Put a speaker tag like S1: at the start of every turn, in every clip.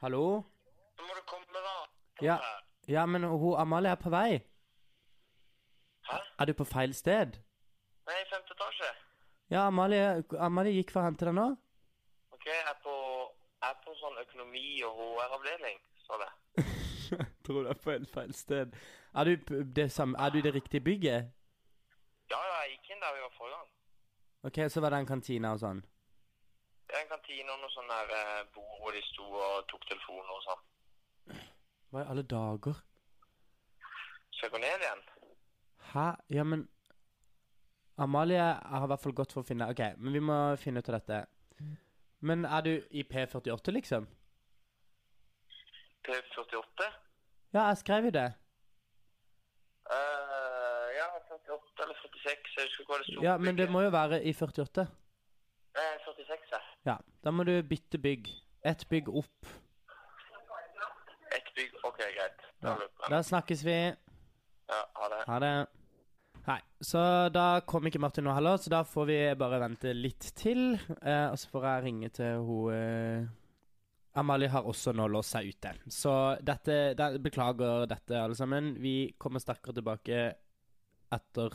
S1: Hallo?
S2: Så må du komme, da.
S1: Ja,
S2: Tore.
S1: ja men hun Amalie er på vei.
S2: Hæ?
S1: Er du på feil sted?
S2: Nei, femte etasje.
S1: Ja, Amalie, Amalie gikk for å hente deg nå.
S2: Ok, jeg er på, jeg er på sånn økonomi- og HR-avdeling, sa det.
S1: Jeg tror du er på helt feil sted. Er du p- det, samme, er du i det riktige bygget?
S2: Ja, ja, jeg gikk inn der vi var forrige gang.
S1: Ok, så var det en kantine og sånn.
S2: Det er en kantine og noe sånn der eh, bord hvor de sto og tok telefoner og sånn.
S1: Hva i alle dager?
S2: Skal jeg gå ned igjen?
S1: Hæ? Ja, men Amalie har i hvert fall gått for å finne Ok, men vi må finne ut av dette. Men er du i P48, liksom?
S2: P48?
S1: Ja, jeg skrev jo det.
S2: Eh, ja, 48 eller 46, jeg husker ikke hva det sto.
S1: Ja, Men det må jo være i 48.
S2: Nei, 46, ja.
S1: Ja. Da må du bytte bygg. Ett bygg opp.
S2: Et bygg, ok, greit. Da løper jeg.
S1: Da snakkes vi.
S2: Ja, ha det.
S1: Ha det. Nei, så da kom ikke Martin nå heller, så da får vi bare vente litt til. Eh, og så får jeg ringe til hun eh... Amalie har også nå låst seg ute. Så dette da, Beklager dette, alle sammen. Vi kommer sterkere tilbake etter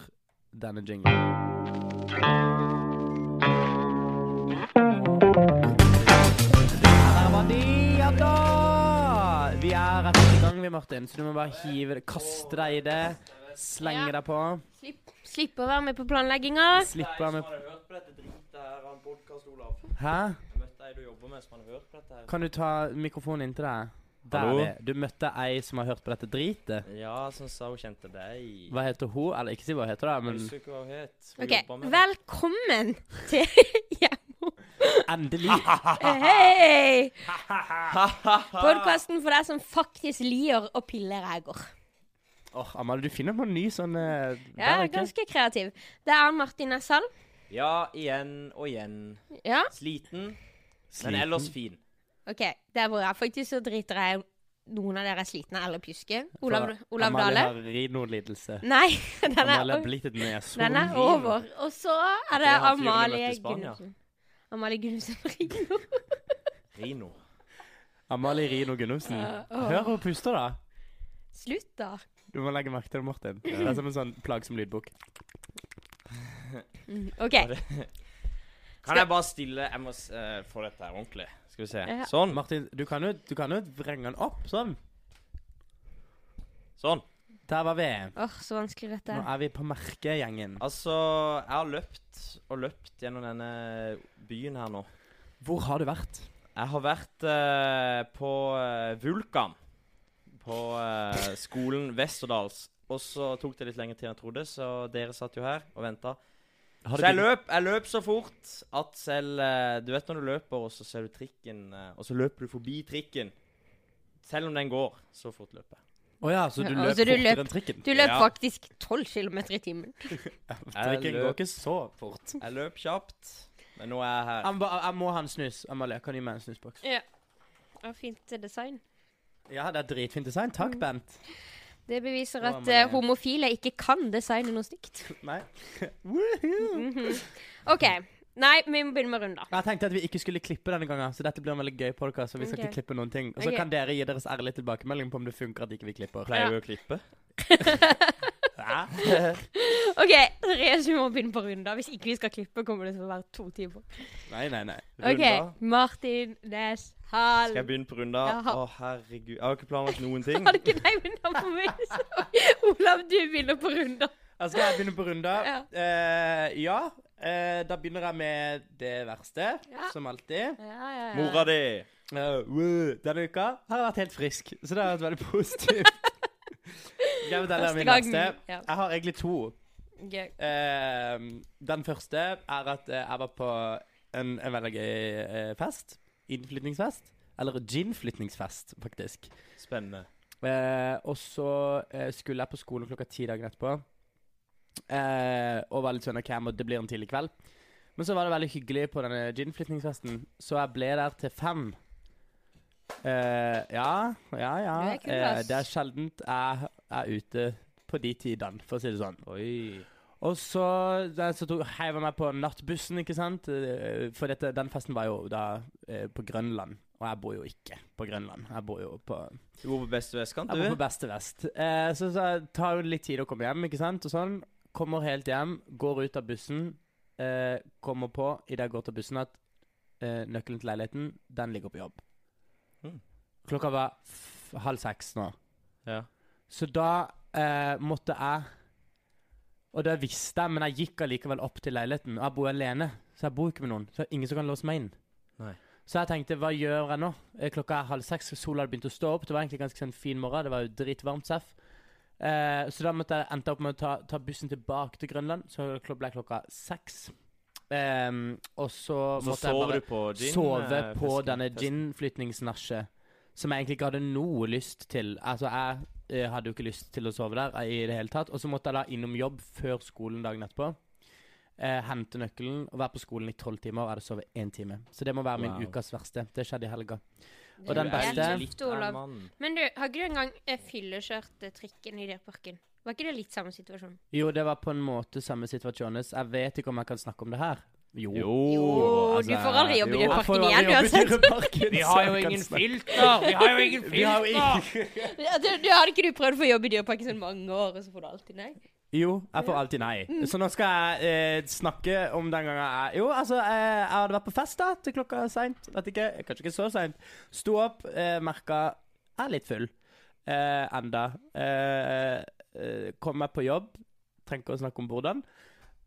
S1: denne jinglen. Der var de, ja da! Vi er rett i gang, vi, Martin, så du må bare hive det, kaste deg i det. Slenge deg på.
S3: Slipp, slipp å være med på planlegginga.
S1: Slippe av med
S4: Som hadde hørt på dette dritet her, han podcast, Olav.
S1: Hæ?
S4: Jeg møtte ei du jobber med som hadde hørt på dette her.
S1: Kan du ta mikrofonen inntil deg? Der,
S4: Hallo?
S1: det. Du møtte ei som har hørt på dette dritet.
S4: Ja, som sa hun kjente deg.
S1: Hva heter hun? Eller ikke si hva hun heter, da,
S4: Jeg
S1: men
S4: husker ikke hva hun het. Hun
S3: OK,
S4: jobba med det.
S3: velkommen til Hjemmo.
S1: endelig.
S3: Hei! Podkasten for deg som faktisk lier å pille ræger.
S1: Åh, Amalie, du finner på en ny sånn eh,
S3: Ja,
S1: der, ikke?
S3: ganske kreativ. Det er Martin Nessal.
S4: Ja, igjen og igjen.
S3: Ja,
S4: Sliten,
S1: Sliten.
S4: men ellers fin.
S3: OK. Det er bra. Faktisk så driter jeg i om noen av dere er slitne eller pjuske. Olav,
S1: For
S3: Olav
S1: Amalie
S3: Dale.
S1: har rinolidelse.
S3: Nei, den
S1: Amalie er
S3: er,
S1: blitt et neshorn.
S3: den er over. Og så er det
S4: Det har flyvende
S3: Amalie
S4: møtt i Spania.
S3: Gunnufsen. Amalie Gunnufsen Rigno.
S4: Rino.
S1: Amalie Rino Gunnufsen. Hør hun puster, da.
S3: Slutt, da.
S1: Du må legge merke til det, Martin. Det er som en sånn plagsom lydbok.
S3: OK.
S4: Kan jeg bare stille Jeg må s- eh, få dette her ordentlig. Skal vi se.
S3: Ja.
S4: Sånn.
S1: Martin, du kan jo, du kan jo vrenge den opp sånn.
S4: Sånn.
S1: Der var vi.
S3: Åh, så vanskelig dette
S1: Nå
S3: er.
S1: er vi på merkegjengen.
S4: Altså, jeg har løpt og løpt gjennom denne byen her nå.
S1: Hvor har du vært?
S4: Jeg har vært eh, på eh, Vulkan. På eh, skolen Westerdals. Og så tok det litt lengre tid enn jeg trodde, så dere satt jo her og venta.
S1: Har
S4: Så
S1: du
S4: jeg
S1: begynt-
S4: løp, jeg løp så fort at selv eh, Du vet når du løper, og så ser du trikken, eh, og så løper du forbi trikken. Selv om den går, så fort løper jeg.
S1: Å ja, så du
S3: Ja,
S1: løp
S3: altså, du
S1: fortere
S3: løp-
S1: enn trikken?
S3: Du løp
S4: Ja.
S3: faktisk 12 km i timen.
S1: Trikken
S4: løp.
S1: går ikke så fort.
S4: Jeg løp kjapt, men nå er jeg her.
S1: Jeg, ba- jeg må ha en snus. Amalie, kan du gi meg en snusboks?
S3: Ja. Og fint design.
S1: Ja, det er dritfint design. Takk, Bent.
S3: Det beviser
S1: Å,
S3: at
S1: Amalie.
S3: eh, homofile ikke kan designe noe stygt.
S1: Nei. Woohoo!
S3: OK. Nei, vi må begynne med runder.
S1: Jeg tenkte at vi ikke skulle klippe denne gangen, så dette blir en veldig gøy podkast. Så vi skal
S3: Ok.
S1: ikke klippe noen ting. Og så
S3: Ok.
S1: kan dere gi deres ærlige tilbakemelding på om det funker at ikke vi klipper.
S4: Pleier vi å klippe?
S3: OK, seriøst, vi må begynne på runder. Hvis ikke vi skal klippe, kommer det til å være to timer.
S1: Nei, nei, nei.
S3: OK.
S4: Runder.
S3: Martin Neshal.
S4: Skal jeg begynne på runda?
S3: Ja.
S4: Å, herregud. Jeg har ikke planlagt noen ting.
S3: Har du ikke deg med navnet mitt? Olav, du begynner på runder.
S1: Jeg skal jeg begynne på runda?
S3: Ja.
S1: Eh, ja. Eh, da begynner jeg med det verste,
S3: Ja.
S1: som alltid.
S3: Ja, ja,
S4: Mora di.
S1: Eh, woo. Denne uka har jeg vært helt frisk, så det har vært veldig positivt. Jeg vil dele
S3: Første
S1: min
S3: gangen,
S1: verste.
S3: ja.
S1: Jeg har egentlig to.
S3: Gøy.
S1: Eh, den første er at eh, jeg var på en, en veldig gøy eh, fest. Innflytningsfest. Eller ginflytningsfest, faktisk.
S4: Spennende.
S1: Eh, og så eh, skulle jeg på skolen klokka ti dagen etterpå. Eh, og var litt sånn OK, jeg må- det blir en tidlig kveld. Men så var det veldig hyggelig på denne ginflytningsfesten, så jeg ble der til fem. Eh, ja, ja, ja.
S3: Du er kul,
S1: eh,
S3: ass.
S1: det er sjeldent jeg er ute på de tidene, for å si det sånn.
S4: Oi.
S1: Og så, da- så tok, heiv jeg meg på nattbussen, ikke sant? Eh, For dette, den festen var jo da eh, på Grønland. Og jeg bor jo ikke på Grønland. Jeg bor jo på
S4: Du bor på beste vestkant,
S1: Jeg bor
S4: du?
S1: på beste vest. Eh, så, så det tar jo litt tid å komme hjem, ikke sant? Og sånn. Kommer helt hjem, går ut av bussen, eh, kommer på idet jeg går til bussen at eh, nøkkelen til leiligheten, den ligger på jobb.
S4: Mm.
S1: Klokka var f halv seks nå.
S4: Ja.
S1: Så da eh, måtte jeg Og det visste jeg, men jeg gikk allikevel opp til leiligheten. Og jeg bor alene, så jeg bor ikke med noen. Så det er ingen som kan låse meg inn.
S4: Nei.
S1: Så jeg tenkte, hva gjør jeg nå? Eh, Klokka er halv seks, sola hadde begynt å stå opp. Det var egentlig ganske sånn fin morgen, det var jo dritvarmt seff. Eh, så da måtte jeg endte opp med å ta, ta bussen tilbake til Grønland, så kl- ble klokka seks. Ehm, og så,
S4: Så
S1: måtte jeg
S4: sover
S1: bare
S4: du på gin?
S1: sove
S4: eh,
S1: på
S4: festen-
S1: denne
S4: festen.
S1: ginflytningsnasjet, som jeg egentlig ikke hadde noe lyst til. Altså, jeg eh, hadde jo ikke lyst til å sove der eh, i det hele tatt. Og så måtte jeg da innom jobb før skolen dagen etterpå. Eh, hente nøkkelen og være på skolen i tolv timer, og jeg hadde sovet én time. Så det må være min
S4: Wow.
S1: ukas verste. Det skjedde i helga.
S4: Du
S1: Og den
S4: er
S1: beste
S4: litt
S3: Tøft, Olav.
S4: av mannen.
S3: Men du, har ikke du engang eh, fyllekjørt eh, trikken i Dyreparken? Var ikke det litt samme situasjon?
S1: Jo, det var på en måte samme situasjon. Jeg vet ikke om jeg kan snakke om det her. Jo. altså.
S3: Jo, du får aldri jobbe i
S4: jo.
S1: Jeg
S3: Dyreparken.
S1: får
S3: igjen,
S1: aldri jobbe i
S3: uansett.
S1: Dyreparken,
S4: Vi
S1: så
S4: har
S1: jeg
S4: jo
S1: kan
S4: ingen
S1: snakke-
S4: filter! Vi har jo ingen
S1: Vi har jo
S4: filter!
S3: Ja, du, du, hadde ikke du prøvd å få jobb i Dyreparken sånn mange år, og så får du alltid nei?
S1: Jo, jeg får alltid nei. Så nå skal jeg eh, snakke om den gangen jeg Jo, altså, eh, jeg hadde vært på fest da, til klokka seint. Vet ikke, kanskje ikke så seint. Sto opp, eh, merka jeg er litt full. Eh, enda. Eh, eh, kom meg på jobb. Trenger ikke å snakke om hvordan.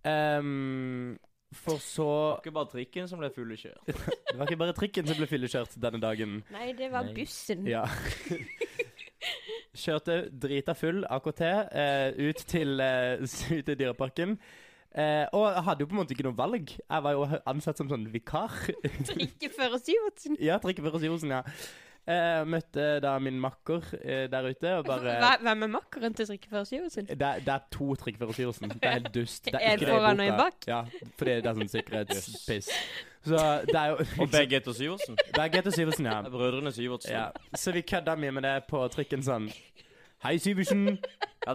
S1: Ehm, for så
S4: Det var ikke bare trikken som ble fuglekjørt.
S1: Det var ikke bare trikken som ble fyllekjørt denne dagen.
S3: Nei, det var
S4: Nei.
S3: bussen.
S1: Ja. Kjørte drita full AKT eh, ut, til, eh, ut til Dyreparken. Eh, og jeg hadde jo på en måte ikke noe valg. Jeg var jo ansatt som sånn vikar.
S3: Trikke før Syvertsen.
S1: ja, trikke for Sivertsen, ja. Eh, møtte da min makker eh, der ute og bare
S3: Hva- Hvem er makkeren til Trikke før Syvertsen?
S1: det, er- det er to trikk for Sivertsen. Det er helt dust.
S3: Det er
S1: ikke i
S3: foran og en
S1: boka.
S3: bak.
S1: Ja, fordi det er sånn sikkerhetspiss. Så det er jo
S4: Og begge heter Syversen.
S1: Begge heter Syversen, ja.
S4: Brødrene Syvertsen.
S1: ja. Så vi kødda mye med det på trikken sånn. Hei, Syversen.
S4: Ja,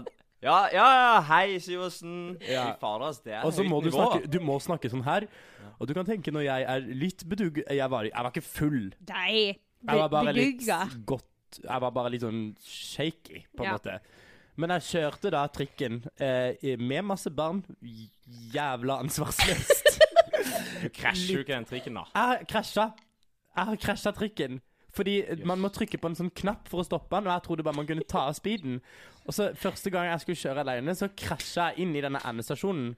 S4: ja, ja, hei, Syversen.
S1: Ja.
S4: Fy fader, ass. Det er
S1: Og så
S4: høyt
S1: må du
S4: nivå.
S1: snakke, du må snakke sånn her. Og du kan tenke når jeg er litt bedugg... Jeg var, jeg var ikke full.
S3: Nei,
S1: Jeg var bare litt
S3: bedugga.
S1: godt Jeg var bare litt sånn shaky, på en
S3: Ja.
S1: måte. Men jeg kjørte da trikken eh, i- med masse barn. j- Jævla ansvarsløst.
S4: Du krasjer jo ikke den trikken, da.
S1: Jeg krasja. Jeg har krasja trikken. Fordi man må trykke på en sånn knapp for å stoppe den, og jeg trodde bare man kunne ta av speeden. Og så Første gang jeg skulle kjøre alene, så krasja jeg inn i denne endestasjonen.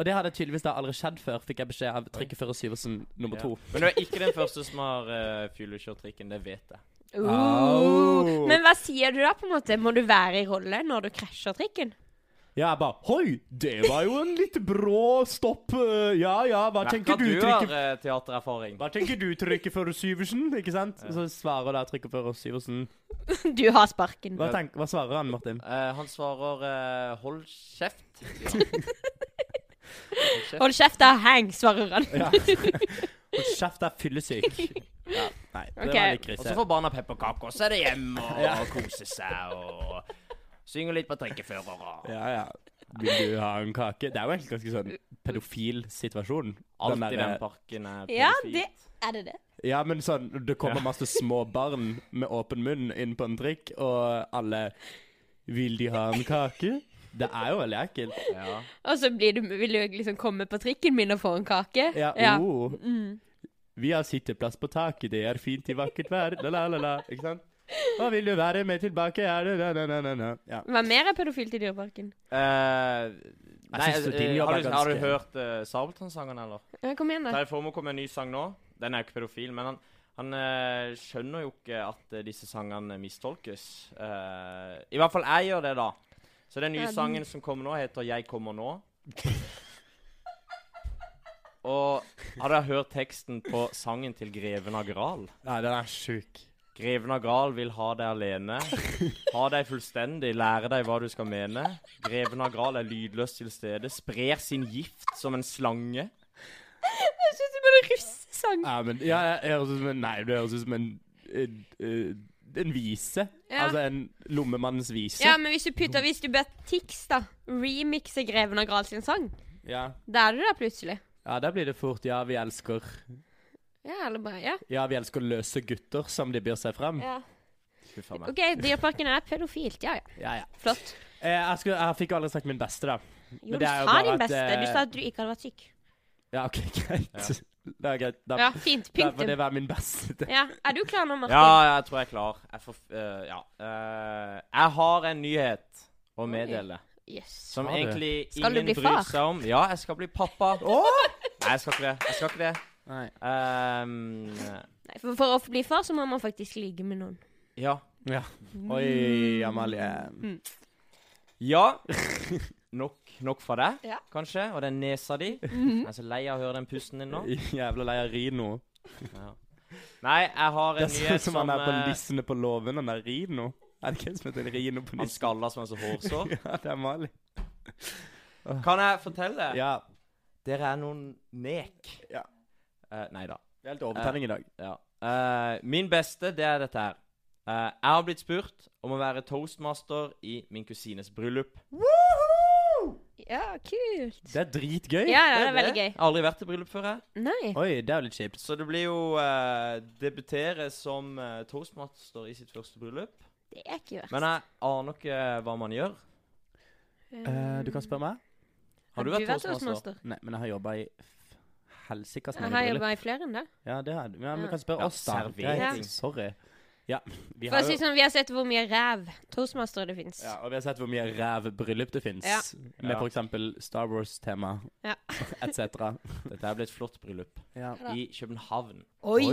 S1: Og det hadde tydeligvis da aldri skjedd før, fikk jeg beskjed av trikkefører Syversen nummer
S4: Ja.
S1: to.
S4: Men du er ikke den første som har uh, fyllekjørt trikken. Det vet jeg.
S1: Au.
S3: Uh. Men hva sier du da, på en måte? Må du være i rolle når du krasjer trikken?
S1: Ja, jeg bare Hoi, det var jo en litt brå stopp. eh, Ja ja, hva
S4: Merker
S1: tenker
S4: at
S1: du,
S4: du har
S1: trykke...
S4: eh, teatererfaring.
S1: Hva tenker du, trikkefører Syversen? Ikke sant? Så svarer da trikkefører Syversen.
S3: Du har sparken.
S1: Hva, tenk, hva svarer han, Martin?
S4: Eh, han svarer eh, 'hold kjeft'.
S3: Hold kjeft, da. Hang, svarer han.
S1: Ja. Hold kjeft, jeg er fyllesyk. Ja, nei, det
S3: Ok.
S1: var litt
S4: Og så
S1: krise.
S4: får barna pepperkaker, og så er det hjem og, kose seg og synge litt på trikkeførere.
S1: Ja, ja. Vil du ha en kake? Det er jo egentlig ganske sånn pedofil situasjon. Den eh,
S4: Alt i den
S1: derre-
S4: parken er
S3: Ja,
S4: pedofil.
S3: det er det det.
S1: Ja, men sånn, det kommer masse små barn med åpen munn inn på en trikk, og alle Vil de ha en kake? Det er jo veldig ekkelt.
S4: Ja.
S3: Og så blir du, vil du liksom komme på trikken min og få en kake.
S1: Ja,
S3: Ja. Mm.
S1: oh. Vi har sitteplass på taket, det er fint i vakkert vær, la-la-la-la. Ikke sant? Og vil du være med tilbake, er det na-na-na-na. Ja.
S3: Hva mer er pedofilt i Dyreparken?
S4: Eh, nei,
S1: synes
S4: eh,
S1: din jobb
S4: har,
S1: er
S4: du, har du
S1: ganske-
S4: hørt uh, Sabeltann-sangen, eller?
S3: Ja, kom igjen, da.
S4: Terje Formoe kom med en ny sang nå. Den er jo ikke pedofil, men han, han eh, skjønner jo ikke at eh, disse sangene mistolkes. Eh, I hvert fall jeg gjør det, da. Så den nye
S3: Ja, den-
S4: sangen som kommer nå, heter 'Jeg kommer nå'. Og har dere hørt teksten på sangen til Greven av Gral?
S1: ja, den er sjuk.
S4: Greven av Gral vil ha deg alene. Ha deg fullstendig, lære deg hva du skal mene. Greven av Gral er lydløst til stede, sprer sin gift som en slange.
S3: Jeg syns det blir russesang.
S1: Ja, men ja, det høres ut som en Nei, det høres ut som en En, eh, en vise.
S3: Ja.
S1: Altså en lommemannens vise.
S3: Ja, men hvis du putter Hvis du ber Tix, da, remixe Greven av Gral sin sang,
S1: Ja.
S3: da er du der plutselig.
S1: Ja, da blir det fort 'ja, vi elsker'.
S3: Ja, eller bare Ja.
S1: Ja, vi elsker løse gutter, som de byr seg frem.
S3: ja.
S1: Huff a
S4: Mm.
S1: meg.
S3: OK, Dyreparken er pedofilt. Ja, ja.
S1: Ja, ja.
S3: Flott.
S1: Eh, jeg, skulle, jeg fikk jo aldri sagt min beste, da.
S3: Jo,
S1: det
S3: du
S1: er jo
S3: sa
S1: bare
S3: din
S1: at,
S3: beste. Du
S1: eh,
S3: sa at du ikke hadde vært syk.
S1: Ja, OK, greit. Det er greit. Da,
S3: Ja, fint.
S1: da får det
S3: Punktum.
S1: være min beste.
S3: Ja. Er du klar nå, Martin?
S4: Ja, jeg tror jeg er klar. Jeg får eh, Ja. Eh, jeg har en nyhet å meddele
S3: Yes.
S4: som
S1: Har du?
S4: egentlig
S3: Skal du
S4: ingen
S3: bli far?
S4: bryr seg om. Ja, jeg skal bli pappa. Nei, jeg skal ikke det. Jeg skal ikke det.
S1: Nei.
S4: Ehm,
S3: Nei, for, for å bli far, så må man faktisk ligge med noen.
S4: ja.
S1: Ja. Oi, Amalie.
S3: Mm.
S4: Ja. Nok, nok fra deg,
S3: Ja. Mhm.
S4: kanskje, og den nesa di. Jeg er så lei av å høre den pusten din nå.
S1: Jævla lei av Rino.
S4: Nei, jeg har
S1: Det
S4: en
S1: er sånn
S4: nyhet
S1: som han er på
S4: eh,
S1: lissene på låven, han er Rino. Er det ikke en som heter Rino på
S4: Han
S1: nissen?
S4: skalla som en så hårsår.
S1: Ja, det er Amalie.
S4: Kan jeg fortelle?
S1: Ja.
S4: Dere er noen nek.
S1: Ja.
S4: Eh, nei da.
S1: Det er litt overtenning i dag.
S4: Ja. Eh, min beste, det er dette her. Eh, jeg har blitt spurt om å være toastmaster i min kusines bryllup.
S3: Ja, kult.
S1: Det er dritgøy.
S3: Ja, ja, det er veldig gøy.
S4: Jeg har aldri vært i bryllup før, jeg.
S3: Nei.
S1: Oi, det er jo litt kjipt.
S4: Så det blir jo eh, debutere som eh, toastmaster i sitt første bryllup.
S3: Det er ikke verst.
S4: Men eh, jeg aner ikke hva man gjør.
S3: Mm.
S1: Eh, du kan spørre meg.
S4: Har du vært toastmaster?
S1: Nei, men jeg har jobba i f- helsikas
S3: Jeg
S1: mange
S3: har
S1: bryllup.
S3: jobba i flere enn det.
S1: Ja, det har jeg. Ja, men du kan
S4: Ja,
S1: spørre oss, da. Det er
S4: servering.
S1: helt- Sorry. Ja, vi
S3: For
S1: har
S3: å si
S1: jo
S3: sånn, Vi har sett hvor mye ræv toastmastere det fins.
S1: ja, og vi har sett hvor mye ræv bryllup det fins,
S3: Ja.
S1: med
S4: Ja.
S1: for f.eks. Star Wars-tema
S3: Ja.
S1: etc.
S4: Dette her blir et flott bryllup.
S1: Ja.
S4: I København.
S1: Oi.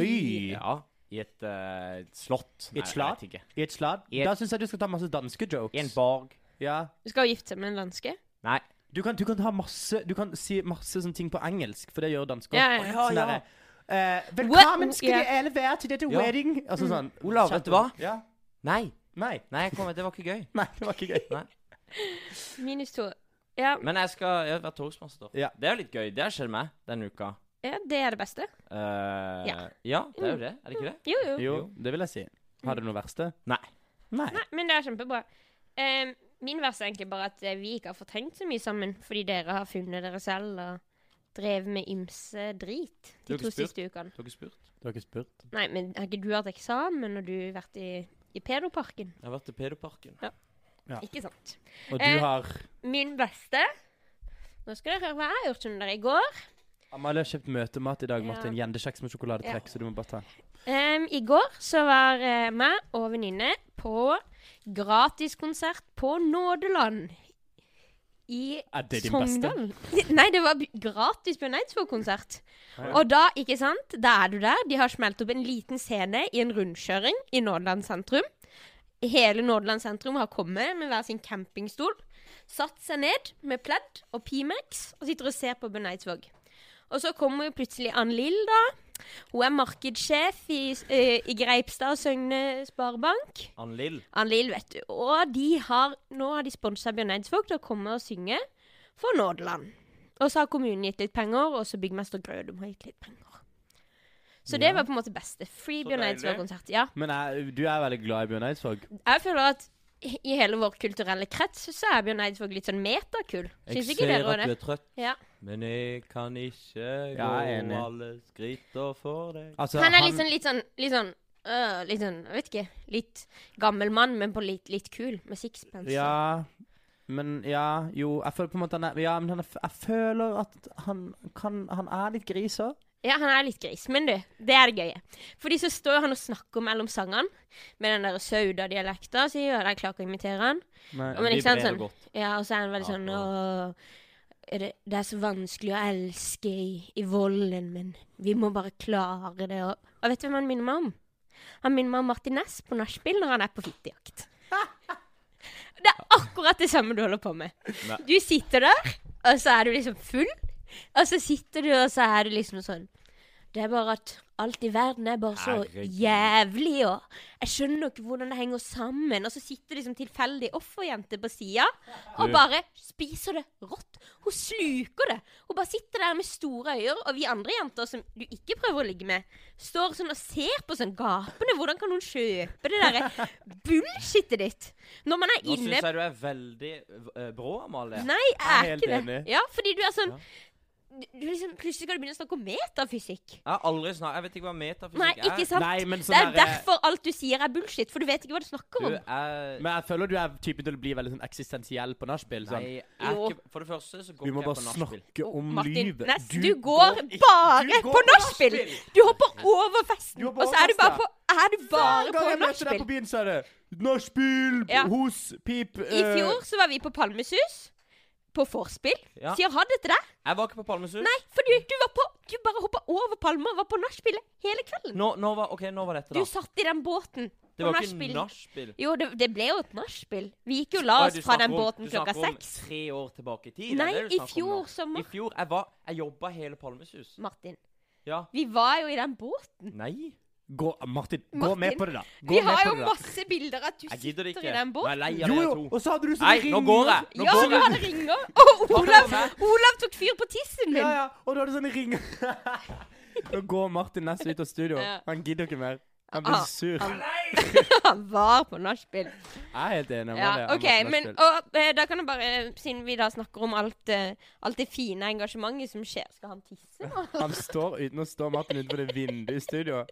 S4: Ja. I et eh, slott.
S1: I et slott?
S4: Nei, jeg vet ikke.
S1: I et slag?
S4: I et-
S1: Da syns jeg du skal ta masse danske
S4: I en
S1: jokes.
S4: borg.
S1: Ja.
S3: Du skal jo gifte seg med en danske?
S4: Nei.
S1: Du kan, du kan ha masse Du kan si masse sånne ting på engelsk, for det gjør dansker.
S3: Ja, ja, ja.
S1: Sånn
S4: Ja,
S1: derre,
S4: ja.
S1: eh,
S3: What-
S1: velkommen skal
S3: ja.
S1: de alle være til dette
S4: Ja.
S1: wedding. Altså sånn.
S4: Olav, vet du hva?
S1: Ja.
S4: Nei.
S1: Nei.
S4: Nei, jeg kommer, det var ikke gøy.
S1: Nei, det var ikke gøy.
S3: Minus to. Ja,
S4: Men jeg skal jeg har vært toastmaster.
S1: Ja.
S4: Det er jo litt gøy. Det har skjedd meg denne uka.
S3: ja, det er det beste.
S4: Eh, ja.
S3: Ja. Mm.
S4: det er jo det. Er det ikke det?
S3: Jo, jo.
S1: Jo, det vil jeg si. Har du noe verste?
S4: Nei.
S1: Nei.
S3: Nei, men det er kjempebra. Eh, min vers er egentlig bare at eh, vi ikke har fått hengt så mye sammen, fordi dere har funnet dere selv og drevet med ymse drit
S4: Du
S3: de
S4: har ikke
S3: to
S4: spurt.
S3: siste ukene.
S4: Du har ikke spurt?
S1: Du har ikke spurt?
S3: Nei, men har ikke du hatt eksamen, og du har vært i, i pedoparken?
S4: Jeg har vært i pedoparken.
S1: Ja.
S3: Ikke sant?
S1: Og du
S3: Eh.
S1: har
S3: Min beste Nå skal dere høre hva jeg har gjort under dere i går.
S1: Amalie har kjøpt møtemat i dag,
S3: Ja.
S1: Martin. Gjendekjeks med sjokoladetrekk, så du må bare ta.
S3: Em, I går så var eh, meg og venninne på gratiskonsert på Nådeland. I
S1: Er det din beste?
S3: beste? Nei, det var b- gratis på Eidsvåg-konsert.
S1: Ja.
S3: Og da, ikke sant, da er du der. De har smelt opp en liten scene i en rundkjøring i Nådeland sentrum. Hele Nådeland sentrum har kommet med hver sin campingstol. Satt seg ned med pledd og Pimex og sitter og ser på Ben Eidsvåg. Og så kommer jo plutselig Ann Lill, da. Hun er markedssjef i, s- eh, i Greipstad og Søgne Sparebank.
S4: Ann Lill.
S3: Ann Lill, vet du. Og de har, nå har de sponsa Bjørn Eidsvåg til å komme og synge for Nådeland. Og så har kommunen gitt litt penger, og så byggmester Grødum har gitt litt penger. Så det var på en måte beste. Free
S4: Så
S3: Bjørn
S4: deilig.
S3: Eidsvåg-konsert. Ja.
S1: Men jeg, du er veldig glad i Bjørn Eidsvåg.
S3: Jeg føler at i- i hele vår kulturelle krets så er Bjørn Eidsvåg litt sånn metakul. Syns ikke dere også det?
S4: er trøtt,
S3: Ja.
S4: men jeg kan ikke
S1: Ja, jeg er enig.
S4: alle skritter for deg.
S1: Altså,
S3: Han er litt sånn, litt sånn, litt sånn øh, litt sånn, jeg vet ikke. Litt gammel mann, men på litt, litt kul. Med sixpence.
S1: Ja. Men ja, jo Jeg føler på en måte han er Ja, men han er, f- jeg føler at han kan Han er litt gris òg.
S3: Ja, han er litt gris, men du, det er det gøye. Fordi så står han og snakker mellom sangene med den der sauda-dialekta si, og jeg klarer ikke å imitere han. Ja, men ikke sant, sånn.
S4: Vibrerer godt.
S3: Ja, og så er han veldig
S4: Ja,
S3: sånn
S4: ja.
S3: Åh, er det, det er så vanskelig å elske i, i volden, men vi må bare klare det. Og, og vet du hvem han minner meg om? Han minner meg om Martin Næss på nachspiel når han er på fittejakt. Det er akkurat det samme du holder på med.
S4: Nei.
S3: Du sitter der, og så er du liksom full. Og så sitter du, og så er du liksom sånn Det er bare at alt i verden er bare så
S4: Herregud.
S3: jævlig, og jeg skjønner ikke hvordan det henger sammen. Og så sitter liksom tilfeldig offerjente på sida og
S4: Du.
S3: bare spiser det rått. Hun sluker det. Hun bare sitter der med store øyne, og vi andre jenter som du ikke prøver å ligge med, står sånn og ser på sånn gapende. Hvordan kan hun kjøpe det derre bullshitet ditt? Når man er
S4: Nå syns
S3: inne
S4: jeg du er veldig eh, brå, Amalie.
S3: Nei, jeg
S1: er
S3: er
S1: helt
S3: ikke det.
S1: enig.
S3: Ja, fordi du er sånn du, du liksom, Plutselig skal du begynne å snakke om metafysikk.
S4: Jeg har aldri snakket Jeg vet ikke hva metafysikk
S3: Nei,
S4: er.
S3: ikke sant?
S1: Nei, men sånn
S3: det er
S1: der-
S3: derfor alt du sier, er bullshit, for du vet ikke hva du snakker
S4: Du
S3: om.
S4: er
S1: Men jeg føler du er typen til å bli veldig sånn eksistensiell på nachspiel.
S4: Nei,
S1: Sånn.
S4: jeg er
S3: Jo.
S4: ikke For det første så går
S1: Vi må bare
S4: ikke jeg på nachspiel.
S1: snakke om
S3: Martin,
S1: livet.
S3: Næss, du,
S1: går
S3: går
S1: ikke-
S3: bare
S1: du går
S3: på nachspiel! Du hopper over festen,
S1: Du hopper
S3: og så er
S1: over
S3: du bare
S1: festen,
S3: på, er du bare på
S1: deg
S3: nachspiel.
S1: på byen, så er det nachspiel,
S3: Ja.
S1: hos, pip eh,
S3: I fjor så var vi på Palmesus, på vorspiel.
S4: Ja.
S3: Sier ha det til deg.
S4: Jeg var ikke på Palmesus.
S3: Nei, for du, du var på Du bare hoppa over palmer og var på nachspielet hele kvelden.
S4: Nå, nå, var, ok, nå var dette,
S3: Du
S4: da.
S3: satt i den båten
S4: Det
S3: på
S4: var ikke
S3: nachspiel.
S4: nachspiel.
S3: Jo, det, det ble jo et nachspiel. Vi gikk jo la
S4: Oi,
S3: oss
S4: du
S3: fra
S4: snakker
S3: den
S4: om-
S3: båten klokka
S4: Du snakker
S3: seks.
S4: om tre år tilbake i tid? er
S3: Nei,
S4: det du
S3: i
S4: snakker om
S3: fjor
S4: nå?
S3: sommer.
S4: I fjor, Jeg, var, jeg jobba hele Palmesus.
S3: Martin,
S4: Ja.
S3: vi var jo i den båten.
S4: Nei.
S1: Gå, Martin, gå
S3: Martin,
S1: med på det, da. Gå
S3: vi
S1: med
S3: har
S1: på
S3: jo
S1: det, da.
S3: masse bilder av at du
S4: Jeg gidder
S3: sitter
S4: ikke.
S3: i den
S4: Nå er jeg
S3: båten.
S4: lei
S1: Jo,
S4: av dere
S1: jo,
S4: to.
S1: og så hadde du sånn
S4: Nei, nå går jeg! Nå
S3: Ja,
S4: går
S3: du
S4: jeg!
S3: hadde ringer. Og Olav,
S4: Hæ?
S3: Olav tok fyr på
S1: Ja,
S3: tissen min.
S1: ja, og du hadde sånn ring Nå går Martin Næss ut av studio.
S3: Ja.
S1: Han gidder ikke mer. Han blir
S3: Ah,
S1: sur.
S3: han- Han var på nachspiel.
S1: Jeg er helt enig med deg.
S3: Ja,
S1: han
S3: OK.
S1: var på
S3: Men
S1: nachspiel.
S3: og, eh, da kan jeg bare Siden vi da snakker om alt, eh, alt det fine engasjementet som skjer Skal han tisse nå?
S1: Han står uten å stå Martin utenfor det vinduet i studio.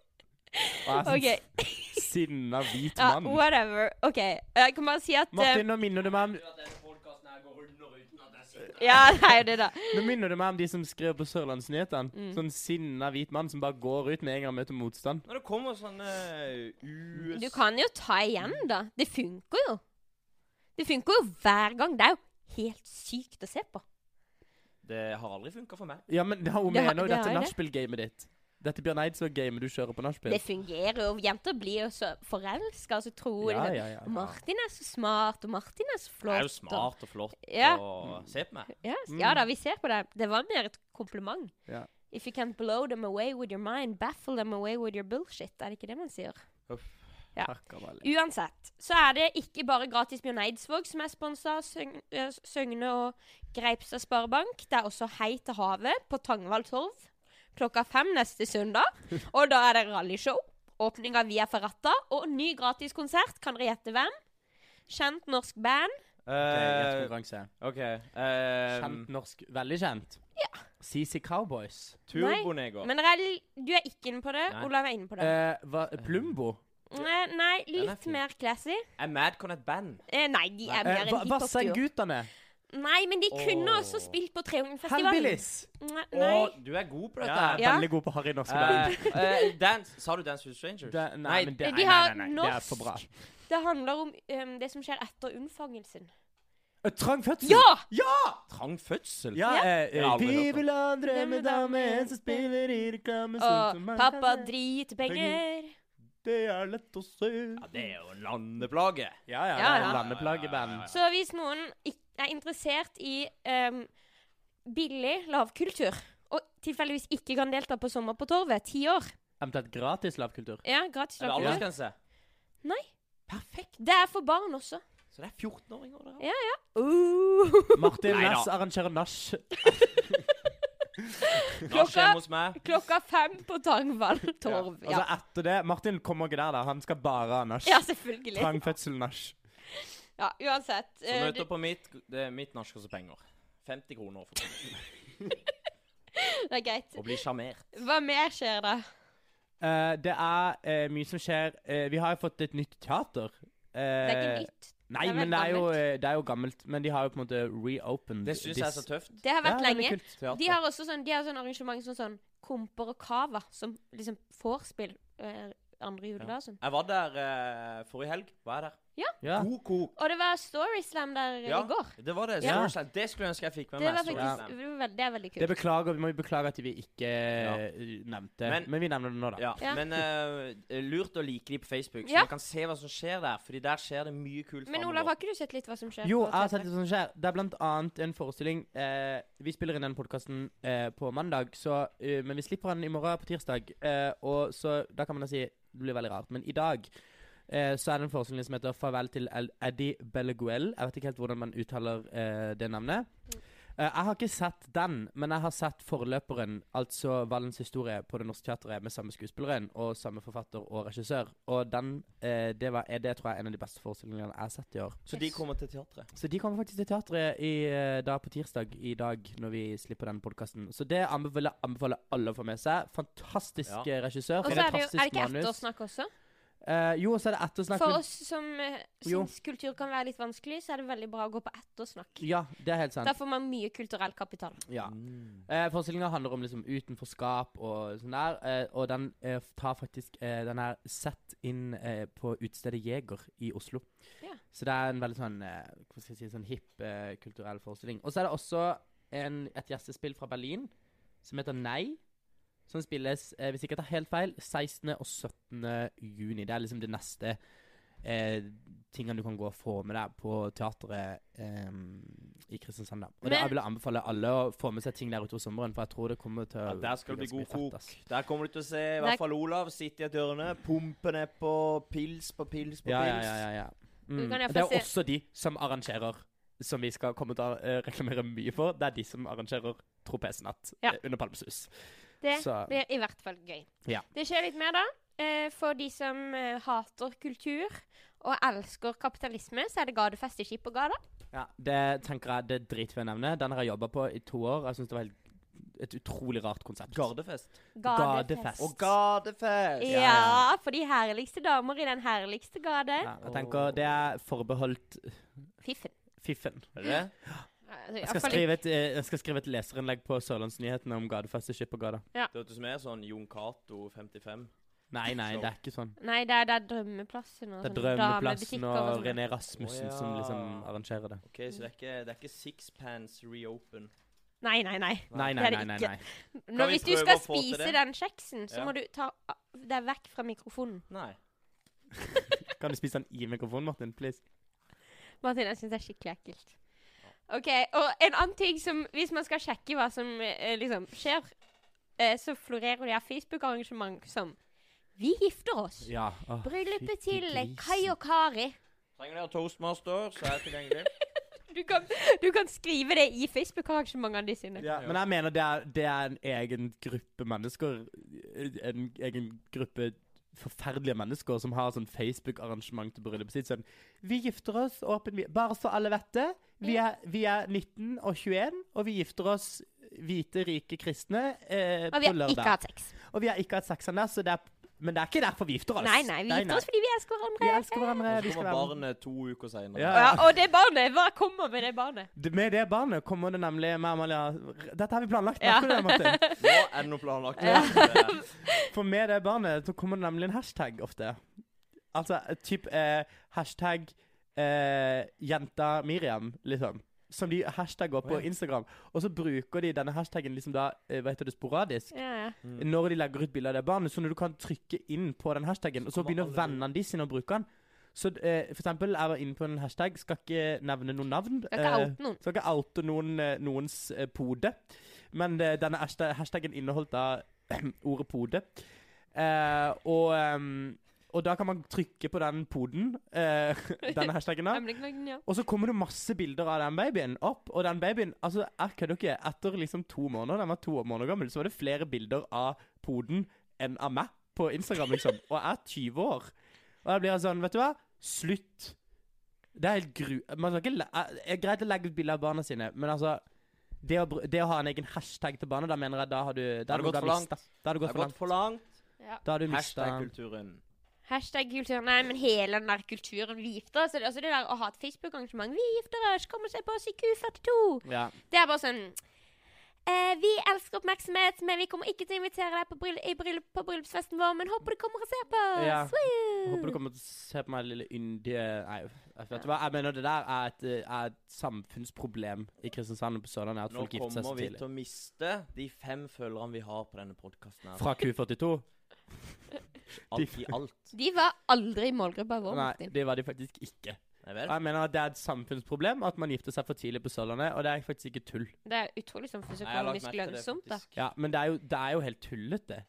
S1: Og jeg er sånn
S3: OK.
S1: sinna hvit
S3: Ja,
S1: mann.
S3: whatever. OK. Jeg kan bare si at eh,
S1: Martin, nå minner du meg om
S3: Ja, det er jo det, da.
S1: Nå minner du meg om de som skrev på Sørlandsnyhetene.
S3: Mm.
S1: Sånn sinna hvit mann som bare går ut med en gang han møter motstand.
S4: Når det kommer sånne eh, US...
S3: Du kan jo ta igjen, da. Det funker jo. Det funker jo hver gang. Det er jo helt sykt å se på.
S4: Det har aldri funka for meg.
S1: Ja, men da, hun
S3: Det har-
S1: mener jo
S3: det
S1: dette
S3: har jeg.
S1: nachspiel-gamet ditt. Dette Bjørn Eidsvåg-gamet du kjører på nachspiel.
S3: Det fungerer jo. Jenter blir jo så forelska, og så tror
S1: Ja,
S3: de
S1: ja, ja.
S3: at Martin er så smart, og Martin er så
S4: Jeg
S3: flott.
S4: er jo smart og flott
S3: Ja.
S4: og Se på meg.
S3: Og, ja, s- ja da, vi ser på det. Det var mer et kompliment.
S1: Ja.
S3: If you can't blow them away with your mind, baffle them away with your bullshit. Er det ikke det man sier? Ja.
S1: Takk av alle.
S3: Uansett så er det ikke bare Gratis Bjørn Eidsvåg som er sponsa av Søgn- eh, Søgne og Greipstad Sparebank. Det er også Hei til havet på Tangvall Torv klokka fem neste søndag. Og da er det rallyshow, åpning av Via Ferrata og ny gratiskonsert. Kan dere gjette hvem? Kjent norsk band.
S4: Eh,
S1: Gjettkonkurranse.
S4: OK. eh,
S1: Kjent norsk. Veldig kjent. CC Cowboys.
S4: Turbonego.
S3: Men dere er, l- du er ikke inne på det.
S4: Nei.
S3: Olav er inne på det.
S1: Eh, hva, Plumbo?
S3: Nei, Eh, nei,
S4: er
S3: litt
S4: fin.
S3: mer classy.
S4: Er Madcon et band?
S3: Eh, nei, de er
S1: Eh,
S3: mer
S1: hva-
S3: enn hiphopduo.
S1: Vassendgutane?
S3: Nei, men de kunne
S4: Åh.
S3: også spilt på Treungen-festivalen.
S1: Hellbillies?
S3: Nei, nei.
S4: Å, du er god på dette.
S1: Ja,
S4: her.
S1: jeg er
S3: Ja.
S1: veldig god på Harry norske band.
S4: Eh, eh, dance. Sa du Dance with Strangers?
S1: Det, nei, men det,
S3: De
S1: nei,
S3: har
S1: nei, nei, nei, det er
S3: norsk.
S1: for bra.
S3: Det handler om ehm, det som skjer etter unnfangelsen.
S1: Eh, Trang fødsel?
S3: Ja!
S4: Trang fødsel?
S1: Ja,
S3: Ja.
S1: eh,
S4: Jeg har
S1: eh,
S4: aldri hørt
S1: vi
S4: om.
S1: vil ha en drømmedame
S3: Drømmedame.
S1: som spiller i reklame sånn
S3: Og
S1: som man
S3: pappa
S1: kan se.
S3: driter penger.
S1: Det er lett å se.
S4: Ja, det er jo en landeplage.
S1: Ja, ja, det
S3: Ja,
S1: er
S3: ja.
S1: landeplageband.
S3: Så hvis noen ik- er interessert i ehm, billig lavkultur, og tilfeldigvis ikke kan delta på Sommer på torvet, ti år
S1: Eventuelt gratis lavkultur.
S3: Ja, gratis
S4: Er det
S3: lavkultur.
S4: aldersgrense?
S3: Nei.
S4: Perfekt.
S3: Det er for barn også.
S4: Så det er 14-åringer der?
S3: Ja. Uh.
S1: Martin
S4: Neida.
S1: Næss arrangerer nach.
S4: Nasj
S3: Klokka-
S4: hjemme hos meg.
S3: Klokka fem på Tangvall torv.
S1: Altså
S3: Ja,
S1: etter det Martin kommer ikke der, da. Han skal bare ha nach.
S3: ja selvfølgelig.
S1: Trang fødsel nach.
S3: Ja, uansett.
S4: Så
S3: eh,
S4: møter på mitt Det er mitt nach koster penger. 50 kroner for
S3: det er greit.
S4: å bli sjarmert.
S3: Hva mer skjer da?
S1: Eh, det er eh, mye som skjer. Eh, vi har jo fått et nytt teater.
S3: Det er
S1: Eh,
S3: ikke nytt.
S1: Nei,
S3: Det er
S1: men
S3: vel
S1: det er, jo,
S3: gammelt.
S1: eh, det er jo gammelt. Men de har jo på en måte reopened
S4: Det syns jeg er så tøft.
S3: Det har vært lenge.
S1: Kult.
S3: De har også sånn, de har sånn arrangement som sånn komper og kava, som liksom får spill eh, andre juledag og sånn.
S4: Jeg var der eh, forrige helg. Var jeg der?
S1: Ja.
S4: God kok.
S3: Og det var Storyslam der eh,
S4: Ja,
S3: i går.
S4: det var det.
S1: Ja.
S4: Story Slam. Det skulle jeg ønske jeg fikk med
S3: Det,
S4: meg.
S3: var
S4: Story
S3: faktisk,
S4: Slam.
S3: det, var veld, det er veldig
S1: Det
S3: kult.
S1: beklager vi. må jo beklage at vi ikke eh, nevnte men,
S4: Men-
S1: vi nevner det nå, da.
S4: Ja,
S3: Ja.
S4: Men eh, lurt å like de på Facebook, så
S3: Ja.
S4: man kan se hva som skjer der. Fordi der skjer det mye kult.
S3: Men
S4: fremover.
S3: Olav, har ikke du sett litt hva som skjer?
S1: Jo,
S3: på
S1: jeg har sett
S3: teatret?
S1: det som skjer. Det er blant annet en forestilling eh, Vi spiller inn den podkasten eh, på mandag, så, eh, men vi slipper den i morgen på tirsdag. Eh, og så Da kan man da si Det blir veldig rart. Men i dag eh, så er det en forestilling
S3: Mm.
S1: som heter 'Farvel til El Eddie Belleguel'. Jeg vet ikke helt hvordan man uttaler eh, det navnet. Eh, jeg har ikke sett den, men jeg har sett forløperen, altså Vallens historie, på Det Norske Teatret med samme skuespilleren og samme forfatter og regissør. Og den, eh, det, var, er det tror jeg er en av de beste forestillingene jeg har sett i år.
S4: Så de kommer til teatret.
S1: Så de kommer faktisk til teatret i, eh, da på tirsdag i dag, når vi slipper den podkasten. Så det anbefaler jeg anbefaler alle å få med seg. Fantastisk eh, regissør.
S3: Og så er det jo
S1: fantastisk
S3: er det ikke
S1: manus.
S3: ettersnakk også.
S1: Eh, jo, og så er det ettersnakk.
S3: For
S1: men-
S3: oss som eh,
S1: Jo.
S3: syns kultur kan være litt vanskelig, så er det veldig bra å gå på ettersnakk.
S1: Ja, det er helt sant.
S3: Da får man mye kulturell kapital.
S1: Ja.
S4: Mm.
S1: Eh, Forestillinga handler om liksom utenforskap og sånn der, eh, og den eh, tar faktisk eh, Den er satt inn eh, på utestedet Jeger i Oslo.
S3: Ja.
S1: Så det er en veldig sånn eh, Hva skal jeg si Sånn hipp eh, kulturell forestilling. Og så er det også en, et gjestespill fra Berlin som heter Nei. Som spilles, eh, hvis ikke jeg tar helt feil, 16. og 17. juni. Det er liksom det neste eh, tingene du kan gå og få med deg på teatret eh, i Kristiansand. Da. Og det
S3: Men-
S1: jeg vil anbefale alle å få med seg ting der utover sommeren, for jeg tror det kommer til å
S4: Ja, der skal det bli
S1: ganske mye
S4: god
S1: fett,
S4: kok.
S1: ass.
S4: Der kommer du til å se i
S3: Der-
S4: hvert fall Olav sitte i et hjørne, pumpe nedpå pils på pils på
S1: Ja, ja,
S4: pils.
S1: ja, ja, ja.
S3: Du
S1: Mm.
S3: kan i hvert
S1: Det er
S3: fall
S1: jo også de som arrangerer, som vi skal komme til å eh, reklamere mye for. Det er de som arrangerer Tropesnatt
S3: Ja.
S1: eh, under Palmesus.
S3: Det
S1: Så-
S3: blir i hvert fall gøy.
S1: Ja.
S3: Det skjer litt mer da. Eh, For de som eh, hater kultur og elsker kapitalisme, så er det gadefest i Skippergata.
S1: Ja, det tenker jeg det er drit å nevne. Den har jeg jobba på i to år. Jeg syns det var helt, et utrolig rart konsept.
S4: Gardefest.
S1: Gadefest.
S4: Og gardefest!
S1: ja,
S3: Ja, for de herligste damer i den herligste gade.
S1: Ja, jeg tenker det er forbeholdt
S3: Fiffen.
S1: fiffen.
S4: Er det?
S3: Altså, i
S1: Jeg
S3: hvert
S1: skal
S3: fall
S1: skrive et, eh, jeg skal skrive et leserinnlegg på Sørlandsnyhetene om gadefest i Skippergata.
S4: Det hørtes mer sånn Jon Cato 55.
S1: Nei, nei, det er ikke sånn.
S3: Nei, det er, det er Drømmeplassen og
S1: Det er
S3: sånn
S1: Drømmeplassen
S3: damebutikker
S1: og
S3: sånn.
S1: René Rasmussen
S4: Å, ja.
S1: som liksom arrangerer det.
S4: Ok, Så det er ikke, det er ikke Sixpants Reopen.
S3: Nei, nei, nei.
S1: Nei, nei,
S3: Det er
S1: nei.
S3: det
S1: nei,
S3: ikke.
S1: nei.
S3: Nå,
S4: vi
S3: hvis du
S4: prøve
S3: skal
S4: å få til
S3: spise
S4: det?
S3: den kjeksen, så
S4: Ja.
S3: må du ta a- deg vekk fra mikrofonen.
S4: Nei.
S1: Kan du spise den i mikrofonen, Martin? Please.
S3: Martin, jeg syns det er skikkelig ekkelt. OK. Og en annen ting som Hvis man skal sjekke hva som eh, liksom skjer, eh, så florerer det av Facebook-arrangement som Vi gifter oss.
S1: Ja. åh,
S3: Bryllupet
S1: fytti
S3: til eh,
S1: grisen.
S3: Kai og Kari.
S4: Trenger dere toastmaster, så er jeg tilgjengelig.
S3: Du kan, du kan skrive det i Facebook-arrangementene de sine.
S1: Ja, men jeg mener det er, det er en egen gruppe mennesker. En egen gruppe forferdelige mennesker som har sånn Facebook-arrangement til bryllupet sitt. Sånn Vi gifter oss åpen vi- Bare så alle vet det. Vi er, vi er 19 og 21, og vi gifter oss hvite, rike kristne eh,
S3: Og
S1: på
S3: vi har ikke
S1: lørdag.
S3: hatt sex.
S1: Og vi har ikke hatt sex ennå, så det er Men det er ikke derfor vi gifter oss.
S3: Nei, nei. Vi gifter oss fordi vi elsker
S1: Vi
S3: hverandre.
S1: elsker hverandre.
S4: Så
S1: Vi skal
S4: kommer
S1: være
S4: barnet to uker seinere.
S1: Ja.
S3: Ja, og det barnet. Hva kommer med det barnet?
S1: Det- Med det barnet kommer det nemlig med Amalia Dette har vi planlagt,
S3: Ja.
S1: merker du det, Martin?
S4: Nå er det noe planlagt. Ja.
S1: For med det barnet så kommer det nemlig en hashtag ofte. Altså typ eh, hashtag eh, jenta Miriam, liksom. Som de hashtagger på
S4: Å, ja.
S1: Instagram. Og så bruker de denne hashtaggen liksom da, eh, hva heter det, sporadisk.
S3: Ja, ja.
S1: Når de legger ut bilde av det barnet. Så når du kan trykke inn på den hashtaggen, og så
S4: Kommer
S1: begynner
S4: alle-
S1: vennene de sine å bruke den. Så eh, for eksempel, jeg var inne på en hashtag, skal ikke nevne noen navn.
S3: Skal ikke
S1: eh,
S3: oute noen.
S1: Skal ikke oute noen, eh, noens eh, pode. Men eh, denne hashtag- hashtaggen inneholdt da ordet pode. Eh, og, ehm, og da kan man trykke på den poden, eh, denne hashtaggen, da.
S3: Hemmeligheten, ja.
S1: Og så kommer det masse bilder av den babyen opp, og den babyen Altså, jeg kødder ikke. Etter liksom to måneder, den var to måneder gammel, så var det flere bilder av poden enn av meg på Instagram, liksom. Og jeg er 20 år. Og jeg blir sånn, vet du hva? Slutt. Det er helt gru... Man skal ikke le... eh, eh, Greit å legge ut bilder av barna sine, men altså det å, br- det å ha en egen hashtag til barna, da mener jeg da har du Da har
S4: Har det
S1: du
S4: gått for langt?
S1: mistet. Da har du
S4: Det
S1: gått
S4: har
S1: for
S4: gått
S1: langt.
S4: for langt.
S1: Da har du mista
S4: Hashtag kulturen.
S3: Hashtag kultur. Nei, men hele den der kulturen vi gifter oss. Altså det der å ha et Facebook-arrangement. Vi gifter oss, kom og se på oss i Q42.
S1: Ja.
S3: Det er bare sånn eh, Vi elsker oppmerksomhet, men vi kommer ikke til å invitere deg på, bryll i bryllup på bryllupsfesten vår, men håper du kommer og ser på oss.
S1: Ja.
S3: Woo!
S1: Håper du kommer til å se på meg, lille yndige Nei, jeg vet du hva? Jeg mener det der er et, eh, er et samfunnsproblem i Kristiansand og på Sørlandet. At
S4: Nå
S1: folk gifter seg
S4: kommer
S1: så
S4: vi
S1: tidlig.
S4: til å miste de fem følgerne vi har på denne podkasten.
S1: Fra Q42?
S4: Alt i alt.
S3: De var aldri i målgruppa vår,
S1: Nei,
S3: Martin.
S1: det var de faktisk ikke.
S4: Nei vel?
S1: Jeg mener at det er et samfunnsproblem at man gifter seg for tidlig på Sørlandet, og det er faktisk ikke tull.
S3: Det er utrolig sånn
S4: Nei, jeg har lagt
S3: fysikalmisk
S4: merke til det,
S3: lønnsomt, da.
S4: faktisk.
S1: Ja, Men det er jo, det er jo helt tullete.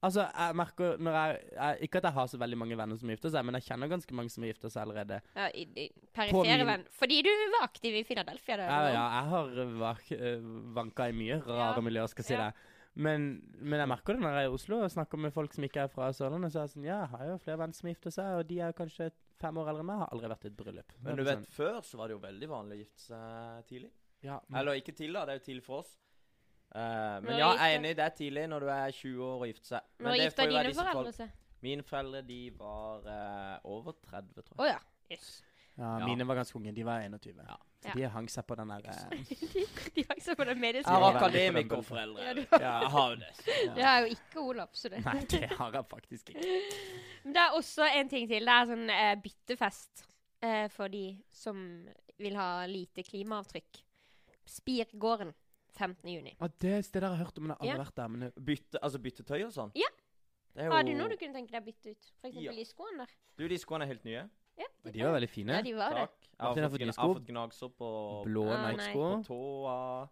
S1: Altså, jeg merker når jeg, jeg Ikke at jeg har så veldig mange venner som gifter seg, men jeg kjenner ganske mange som gifter seg allerede.
S3: Ja, i, i,
S1: På min-
S3: perifere venn. Fordi du var aktiv i Philadelphia. Da,
S1: Ja, ja, jeg har vak- eh, vanka i mye rare
S3: Ja.
S1: miljøer, skal jeg si
S3: Ja.
S1: det. Men, men jeg merker det når jeg er i Oslo og snakker med folk som ikke er fra Sørlandet. Så er jeg sånn, ja, jeg har jo flere venner som gifter seg, og de er kanskje fem år eldre enn meg. Har aldri vært i et bryllup.
S4: Men du
S1: Det er
S4: vet,
S1: sånn,
S4: før så var det jo veldig vanlig å gifte seg tidlig.
S1: ja,
S4: Eller ikke tidlig, da. Det er jo tidlig for oss. Eh, men
S3: Når
S4: ja, jeg er
S3: gifte-
S4: enig. Det er tidlig når du er 20 år og gifter seg. Men
S3: Når
S4: det
S3: gifta
S4: får jo være
S3: dine
S4: disse
S3: foreldre seg?
S4: folk- Mine foreldre de var eh, over 30, tror jeg.
S3: Å ja. Jøss.
S1: ja,
S4: Ja.
S1: mine var ganske unge. De var 21.
S4: Ja.
S1: Så de hang seg på den der eh,
S3: De har ikke så på den mediske.
S1: Ja,
S4: Jeg
S1: var
S4: var
S1: veldig fornøyd.
S4: akademikerforeldre.
S3: Ja, du-
S4: Ja, jeg har jo det.
S3: Det har jo ikke Olav, så det.
S1: Nei, det har jeg faktisk ikke.
S3: Men det er også en ting til. Det er sånn eh, byttefest eh, for de som vil ha lite klimaavtrykk. Spirgården 15. juni.
S1: Og det stedet jeg har hørt om, men jeg har aldri
S3: Ja.
S1: vært der. Men det,
S4: Bytte, altså byttetøy og sånn?
S3: Ja.
S4: Det er
S3: Har du
S4: jo
S3: noe du kunne tenke deg å bytte ut? For eksempel
S4: Ja.
S3: de skoene der.
S4: Du, de skoene er helt nye.
S3: Ja,
S1: og de var veldig fine.
S3: ja, de var det.
S4: Takk. Jeg har
S1: Martin har
S4: fått,
S1: fått nye
S4: gna- jeg
S1: sko.
S4: har fått gnagsopp på,
S1: Blå
S3: Ah, nei.
S1: Nike-sko.
S4: på tåa.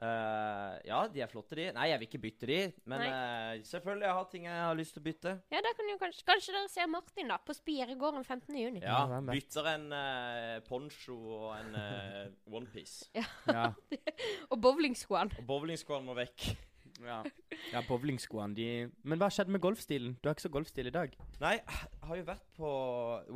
S4: Eh, ja, de er flotte, de. Nei, jeg vil ikke bytte de. Men eh, selvfølgelig, jeg har ting jeg har lyst til å bytte.
S3: Ja, da kan jo kanskje, kanskje dere ser Martin da, på Spirgården 15. juni.
S4: Ja,
S1: hvem vet?
S4: Bytter en eh, poncho og en eh, onepiece.
S1: Ja.
S3: Og bowlingskoene.
S4: Og bowlingskoene må vekk.
S1: Ja. ja, bowlingskoene, de Men hva skjedde med golfstilen? Du har ikke så golfstil i dag.
S4: Nei, jeg har jo vært på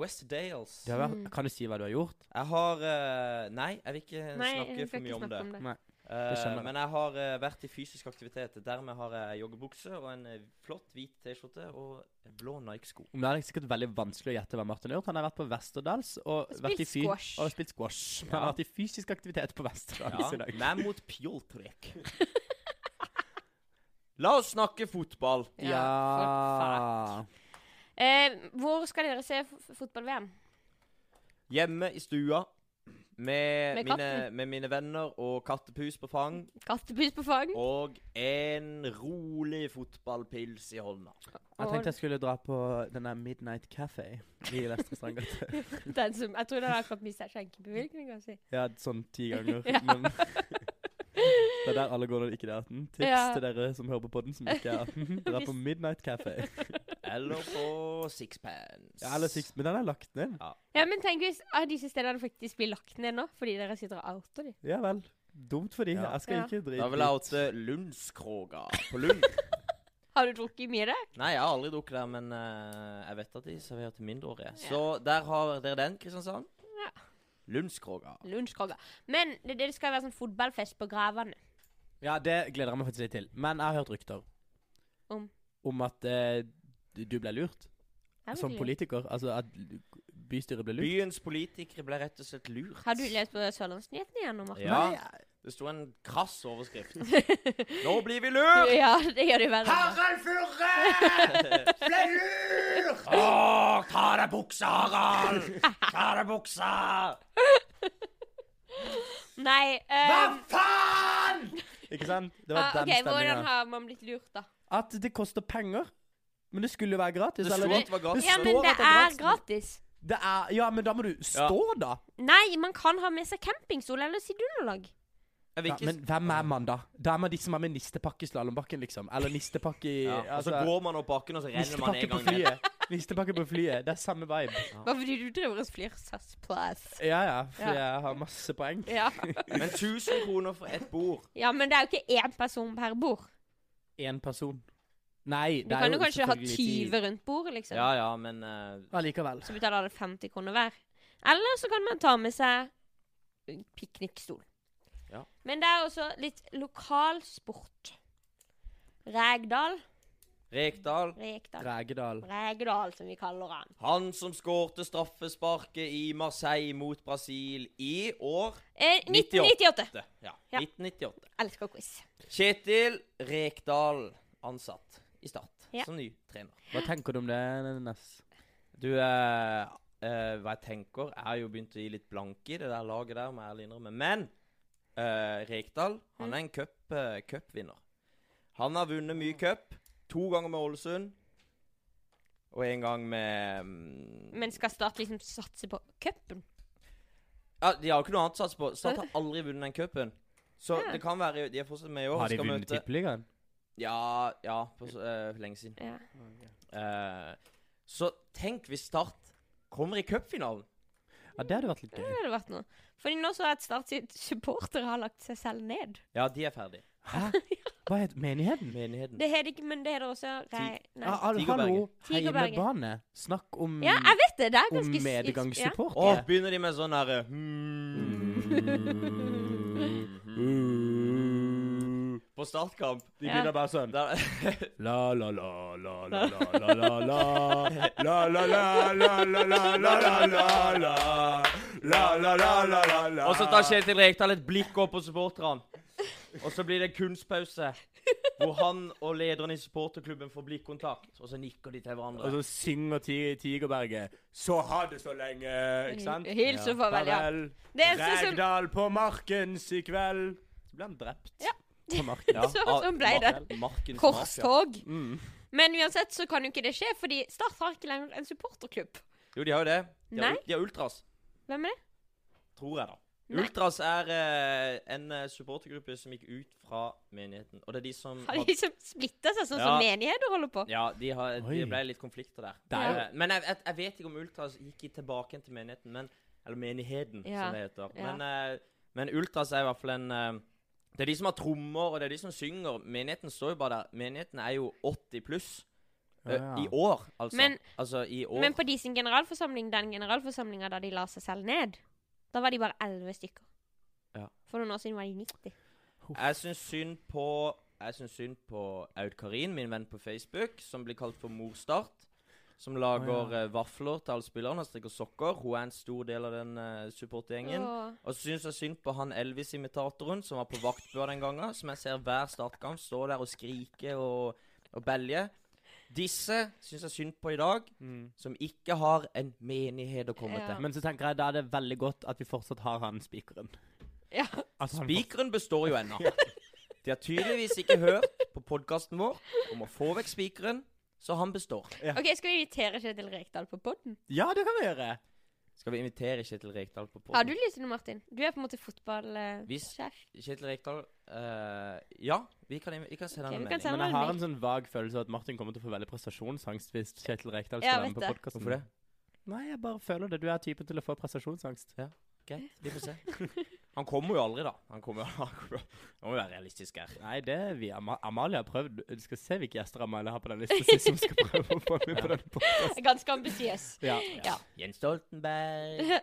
S4: West Dales.
S1: Du har vært, kan du si hva du har gjort?
S4: Jeg har eh, Nei, jeg vil ikke
S3: Nei,
S4: snakke
S3: vi skal
S4: for mye
S3: ikke
S4: om
S3: snakke
S4: det.
S3: om det.
S1: Nei.
S4: Eh,
S1: Det skjønner jeg.
S4: men jeg har eh, vært i fysisk aktivitet. Dermed har jeg joggebukse og en eh, flott hvit T-skjorte og blå Nike-sko.
S1: Men Det er sikkert veldig vanskelig å gjette hva Martin har gjort. Han har vært på Westerdals og,
S3: Og
S1: vært i
S3: spilt
S1: fy-
S3: squash.
S1: Og spilt squash. Han har vært i fysisk aktivitet på Westerdals
S4: Ja.
S1: i dag.
S4: Nei, mot Pjoltrek. La oss snakke fotball.
S3: for faen. Eh, hvor skal dere se f- fotball-VM?
S4: Hjemme i stua med,
S3: Med
S4: mine,
S3: katten. Mhm.
S4: med mine venner og kattepus på fang.
S3: Kattepus på fang?
S4: Og en rolig fotballpils i hånda.
S1: Jeg tenkte jeg skulle dra på denne Midnight Café i Vestre Strandgate.
S3: Den som, jeg tror den har akkurat mista skjenkebevilgning. Altså.
S1: Ja, sånn ti ganger.
S3: Ja.
S1: Men det er der alle går når de ikke er 18. Tips
S3: Ja.
S1: til dere som hører på podden som ikke er 18. Dra på Midnight Café.
S4: Eller på sixpence.
S1: Ja, eller six, men den er lagt ned.
S3: Ja, men tenk hvis ah, disse stedene faktisk blir lagt ned nå, fordi dere sitter og outer dem.
S1: Ja vel. Dumt for de.
S4: Ja.
S1: Jeg skal
S3: Ja.
S1: ikke drite
S4: Da vil jeg oute Lundskroga på Lund.
S3: Har du drukket mye det?
S4: Nei, jeg har aldri drukket der, men eh, jeg vet at de serverer til mindreårige. Så der har dere den, Kristiansand.
S3: Ja.
S4: Lundskroga.
S3: Lunsjkroger. Men det, det skal være sånn fotballfest på gravene.
S1: Ja, det gleder jeg meg faktisk litt til. Men jeg har hørt rykter.
S3: Om?
S1: Om at eh, du ble lurt
S3: Er det
S1: som
S3: ikke det?
S1: politiker. Altså at l- bystyret ble lurt.
S4: Byens politikere ble rett og slett lurt.
S3: Har du lest på Sørlandsnyhetene igjen nå, Martin?
S4: Ja.
S1: Nei,
S4: Det sto en krass overskrift. Nå blir vi lurt!
S3: Ja, det gjør det verre.
S4: Harald Furre ble lurt! Å, ta av deg buksa, Harald! Ta av deg buksa!
S3: Nei ehm,
S4: faen?!
S1: Ikke sant? Det
S3: ah,
S1: var
S3: OK,
S1: den
S3: hvordan
S1: stemninga.
S3: har man blitt lurt, da?
S1: At det koster penger. Men det skulle jo være gratis.
S4: Det sto
S1: eller?
S4: at det var gratis.
S3: Ja,
S1: står
S3: men
S1: at
S3: det
S1: det er
S3: er
S1: gratis.
S3: gratis.
S1: Det er, ja, men da må du stå, da.
S3: Nei, man kan ha med seg campingstol eller sidunderlag.
S4: Jeg vil
S1: Ja,
S4: ikke
S1: men hvem er man, da? Da er man de som er med nistepakke i slalåmbakken, liksom. Eller nistepakke i
S4: ja, Og så
S1: altså,
S4: går man opp bakken, og så renner man
S1: Nistepakke
S4: en
S1: på
S4: gang ned.
S1: flyet. Nistepakke på flyet. Det er samme vibe.
S3: Bare fordi du driver og flyr SAS-plass.
S1: Ja ja, for
S3: Ja.
S1: jeg har masse poeng.
S3: Ja.
S4: Men 1000 kroner for ett bord.
S3: ja, men det er jo ikke én person per bord.
S1: Én person. Nei,
S3: Du kan jo kanskje ha 20 rundt bordet, liksom.
S4: Ja ja, men eh,
S1: Allikevel.
S3: Så betaler alle 50 kroner hver. Eller så kan man ta med seg piknikstol.
S4: Ja.
S3: Men det er også litt lokalsport. Rægdal.
S4: Rekdal
S3: Rekdal.
S1: Dregedal.
S3: Rægdal, som vi kaller han.
S4: Han som skårte straffesparket i Marseille mot Brasil i år
S3: Eh, 1998.
S4: det- Ja,
S3: Ja.
S4: 1998.
S3: Elsker quiz.
S4: Kjetil Rekdal ansatt i Start
S3: Ja.
S4: som ny trener.
S1: Hva tenker du om det, Ness?
S4: Du, eh, eh, hva jeg tenker Jeg har jo begynt å gi litt blanke i det der laget der, må jeg ærlig innrømme. Men eh, Rekdal, han
S3: Mm.
S4: er en cup, eh, cupvinner. han har vunnet mye cup. To ganger med Ålesund. Og en gang med mm,
S3: Men skal Start liksom satse på cupen?
S4: Ja, De har jo ikke noe annet å satse på. Start har aldri vunnet den cupen. Så
S3: Ja.
S4: det kan være De er fortsatt med i år.
S1: Har de
S4: skal
S1: vunnet
S4: møte-
S1: Tippeligaen?
S4: Ja, ja for så, eh, for lenge siden.
S3: Ja.
S4: Eh, så tenk hvis Start kommer i cupfinalen.
S1: Ja, det hadde vært litt gøy.
S3: Det hadde vært noe. Fordi nå så er at Start sitt supportere har lagt seg selv ned.
S4: Ja, de er ferdig.
S1: Hæ? Hva het menigheten?
S4: Menigheten.
S3: Det heter ikke, men det heter også rei... Nei.
S1: Ah, al- hallo,
S4: Tigerberget.
S3: Tigerberget.
S1: heimebane. Snakk om,
S3: Ja, jeg vet det. Det er
S1: om
S3: ganske s- ja.
S4: Å,
S1: medgangssupportere.
S4: begynner de med sånn herre hmm. På startkamp. De
S3: begynner
S4: bare sånn.
S1: La la la la la la la la la la la la la la la la la
S4: Og så tar Kjetil Rekdal et blikk opp på supporterne. Og så blir det kunstpause, hvor han og lederen i supporterklubben får blikkontakt. Og så nikker de til hverandre.
S1: Og så synger Ti- Tigerberget 'Så ha det så lenge', ikke sant?
S3: Hils og Mm, farvel, ja.
S1: Farvel.
S3: Det eneste som
S1: Regdal på markens i kveld. Så ble han drept.
S3: Ja.
S1: På marken.
S4: Ja,
S3: Så- sånn ble det.
S4: Mar- Markens mafia.
S3: Korstog.
S1: Mm.
S3: Men uansett så kan jo ikke det skje, fordi Start har ikke lenger en supporterklubb.
S4: Jo, de har jo det. De har,
S3: Nei.
S4: de har Ultras,
S3: Hvem er det?
S4: tror jeg, da.
S3: Nei.
S4: Ultras er eh, en eh, supportergruppe som gikk ut fra menigheten. Og det er de som
S3: Har de
S4: har-
S3: liksom splitta seg, sånn som
S4: Ja.
S3: menigheter holder på?
S4: Ja, de har,
S1: Oi.
S4: det ble litt konflikter der.
S1: Det er jo-
S4: Eh, Men jeg, jeg, jeg vet ikke om Ultras gikk i- tilbake igjen til menigheten, men, eller menigheten,
S3: Ja.
S4: som det heter.
S3: Ja.
S4: Men, eh, men Ultras er i hvert fall en eh, Det er de som har trommer, og det er de som synger. Menigheten står jo bare der. Menigheten er jo 80 pluss. eh,
S1: Ja, ja.
S4: I år, altså.
S3: Men-
S4: altså i år.
S3: Men på de sin generalforsamling, den generalforsamlinga da de la seg selv ned, da var de bare elleve stykker.
S4: Ja.
S3: For noen år siden var de 90.
S4: Jeg syns synd på Jeg synes synd på Aud Karin, min venn på Facebook, som blir kalt for Morstart. Som lager eh, vafler til alle spillerne og strikker sokker. Hun er en stor del av den eh, supportergjengen.
S3: Og
S4: Og så syns jeg synd på han Elvis-imitatoren som var på vaktbør den gangen, som jeg ser hver startkamp stå der og skrike og, og belje. Disse syns jeg synd på i dag,
S1: Mm.
S4: som ikke har en menighet å komme
S3: Ja.
S4: til.
S1: Men så tenker jeg da er det veldig godt at vi fortsatt har han spikeren.
S3: Ja.
S1: At han
S4: Spikeren består jo ennå. De har tydeligvis ikke hørt på podkasten vår om å få vekk spikeren, så han består.
S3: OK, skal vi invitere Kjetil Rekdal på podden?
S1: får- Ja, det kan vi gjøre!
S4: Skal vi invitere Kjetil Rekdal på
S3: Har du
S4: podden?
S3: lyst til det, Martin? Du er på en måte
S4: Hvis-
S3: fotballsjef.
S4: Kjetil Rekdal eh, Ja, vi kan, vi kan sende
S3: Ok,
S4: han
S3: vi kan
S4: en melding.
S3: sende-
S1: Men jeg har en sånn vag følelse av at Martin kommer til å få veldig prestasjonsangst hvis Kjetil Rekdal
S3: Ja,
S1: skal være
S3: vet
S1: med på
S3: det.
S1: podkasten.
S4: Hvorfor det?
S1: Nei, jeg bare føler det. Du er typen til å få prestasjonsangst.
S4: Greit, vi får se. Han kommer jo aldri, da. Han kommer jo han kommer- Nå må vi være realistiske her.
S1: Nei, det er vi. Ama Amalie har prøvd. Du skal se hvilke gjester Amalie har på den lista sist som skal prøve å få med på den podkasten.
S3: Ganske ambisiøs.
S1: Ja.
S3: Ja.
S4: Jens Stoltenberg,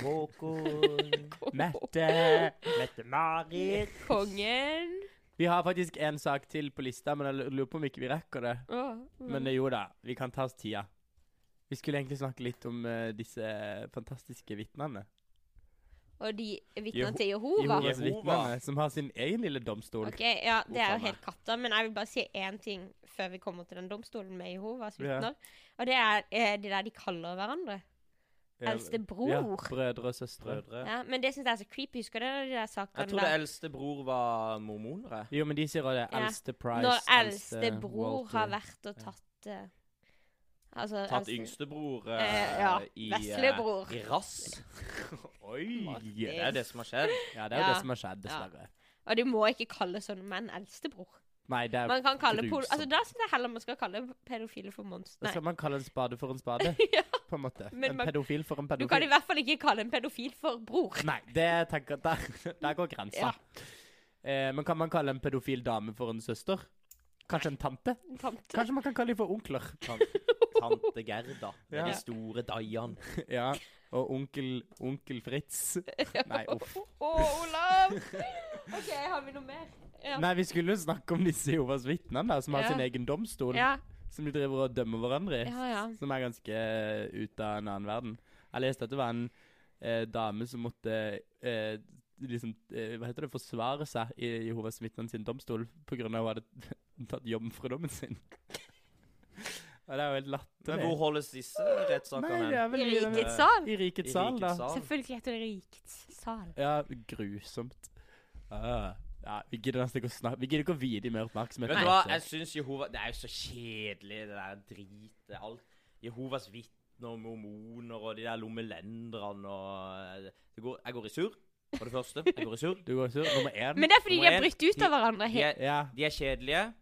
S4: Håkon
S1: Mette.
S4: Mette-Marit
S3: Kongen.
S1: Vi har faktisk en sak til på lista, men jeg lurer på om ikke vi rekker det.
S3: Åh,
S1: Men eh, jo da, vi kan ta oss tida. Vi skulle egentlig snakke litt om eh, disse fantastiske vitnene.
S3: Og de vitner
S1: Jeho-
S3: til Jehova.
S1: Jehovas
S4: Jehova.
S1: vitner, som har sin egen lille domstol.
S3: Ok, ja, Det er
S4: Hvorfor
S3: jo
S4: meg?
S3: helt katta, men jeg vil bare si én ting før vi kommer til den domstolen med Jehovas
S1: Ja.
S3: vitner. Og det er eh, det der de kaller hverandre.
S1: Ja,
S3: Eldste
S1: Eh, Ja,
S3: bror.
S1: brødre og søstre.
S4: Brødre.
S3: Ja, men det syns jeg er så creepy. Husker dere de der
S4: Jeg
S3: sakene
S4: tror det
S3: der?
S4: eldste bror var mormonere.
S1: Jo, men de sier også det.
S3: Ja.
S1: Eldste Price.
S3: Når eldste bror
S1: Walter.
S3: har vært og tatt eh, Altså
S4: Tatt
S3: eldste-
S4: yngstebror
S3: Eh, ja.
S4: i,
S3: Veslebror.
S4: eh, i rass.
S1: Oi!
S4: Det er jo det som har skjedd.
S1: Ja, det er jo
S3: Ja.
S1: det som har skjedd, dessverre.
S3: Og du må ikke kalle sånn, sånne menn eldstebror.
S1: Nei, det er
S3: Man kan kalle pol
S1: grusomt.
S3: altså, Da syns jeg heller man skal kalle pedofile for monster.
S1: Da
S3: Nei.
S1: skal man kalle en spade for en spade,
S3: Ja.
S1: på en måte.
S3: Men
S1: en
S3: man-
S1: pedofil for en
S3: Du
S1: pedofil.
S3: kan i hvert fall ikke kalle en pedofil for bror.
S1: Nei, det tenker jeg der, der går grensa.
S3: Ja.
S1: Eh, men kan man kalle en pedofil dame for en søster? Kanskje en tante?
S3: Tante.
S1: Kanskje man kan kalle dem for onkler?
S4: Tante Gerda med
S1: Ja.
S4: de store dayan.
S1: Ja. Og onkel, onkel Fritz. Nei, uff.
S3: Å, Olav! OK, har vi noe mer? Ja.
S1: Nei, vi skulle jo snakke om disse Jehovas vitnene, da, som har
S3: Ja.
S1: sin egen domstol.
S3: Ja,
S1: Som de driver og dømmer hverandre i.
S3: ja, ja.
S1: Som er ganske eh, ut av en annen verden. Jeg leste at det var en eh, dame som måtte eh, liksom, eh, hva heter det, forsvare seg i Jehovas vitner sin domstol pga. at hun hadde tatt jomfrudommen sin. Og det er jo helt
S4: Men
S1: latterlig.
S4: hvor holdes disse
S1: Nei, det
S4: rettssakene hen?
S1: er vel
S3: I rikets
S4: eh,
S3: sal.
S1: I rikets sal, da.
S3: Selvfølgelig heter det rikets sal.
S1: Ja, grusomt. Ah. Ja, vi gidder nesten ikke å snakke Vi gidder ikke å vie de mer oppmerksomhet.
S4: Vet
S1: på
S4: du hva,
S1: dette.
S4: jeg syns Jehova Det er jo så kjedelig, det der dritet. Alt. Jehovas vitner, mormoner og de der lommelenderne og eh, det går, Jeg går i surr, for det første. Jeg går i surr.
S1: Du går sur. Nummer én.
S3: Men det er fordi de
S4: Nummer
S3: har
S4: én,
S3: brutt ut av hverandre.
S4: De,
S3: he-
S4: er-
S1: Ja.
S4: de er kjedelige.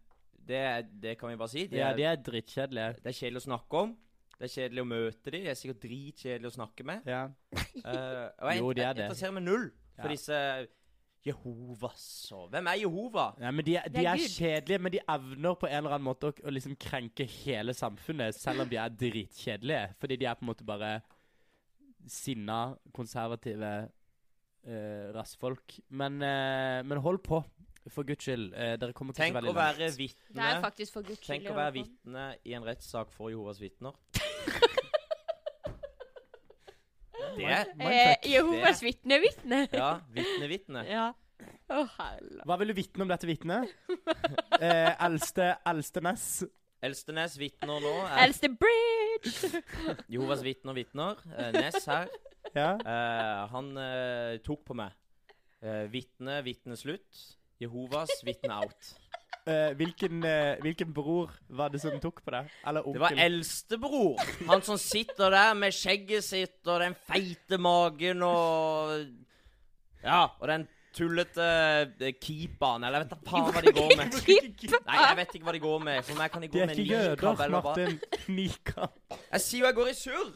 S4: Det, det kan vi bare si. De
S1: Ja,
S4: er-
S1: de er drittkjedelige.
S4: Det er kjedelig å snakke om. Det er kjedelig å møte dem. De er sikkert dritkjedelige å snakke med.
S1: Ja.
S4: Eh, og jeg,
S1: Jo, de er
S4: jeg
S1: det.
S4: interesserer meg null for
S1: Ja.
S4: disse Jehovas og Hvem er Jehova?
S1: Nei, men de, er- de
S3: Det er
S1: er
S3: Gud.
S1: kjedelige, men de evner på en eller annen måte å, å liksom krenke hele samfunnet, selv om de er dritkjedelige. Fordi de er på en måte bare sinna, konservative eh, rassfolk. Men, eh, men hold på, for guds skyld. Eh, dere kommer ikke så
S4: Tenk å
S1: veldig
S4: være
S1: langt.
S3: Det er
S4: vitne
S3: faktisk for guds skyld.
S4: Tenk å
S3: jeg
S4: være
S3: holder på.
S4: vitne i en rettssak for Jehovas vitner. Det
S3: Eh,
S1: Mindfuck.
S3: Jehovas vitne er vitne.
S4: Ja, vitne-vitne.
S3: Ja. Å, hell.
S1: Hva vil du vitne om dette vitnet? eh, eldste eldste Ness.
S4: Elstenes vitner nå er
S3: Eldste bridge.
S4: Jehovas vitner vitner. Eh, Ness her.
S1: Ja.
S4: Eh, han eh, tok på meg. Eh, vitne, vitne slutt. Jehovas vitne out.
S1: Eh, hvilken, eh, hvilken bror var det som tok på deg? Eller onkel?
S4: Det var eldstebror. Han som sitter der med skjegget sitt og den feite magen og Ja, og den tullete eh, keeperen, eller jeg vet da faen hva de går med. Nei, jeg vet ikke hva de går med. For meg kan de
S1: De
S4: gå
S1: er
S4: med
S1: ikke
S4: nikab
S1: jøder,
S4: eller hva.
S1: Martin. Nikab.
S4: Jeg sier jo jeg går i surr!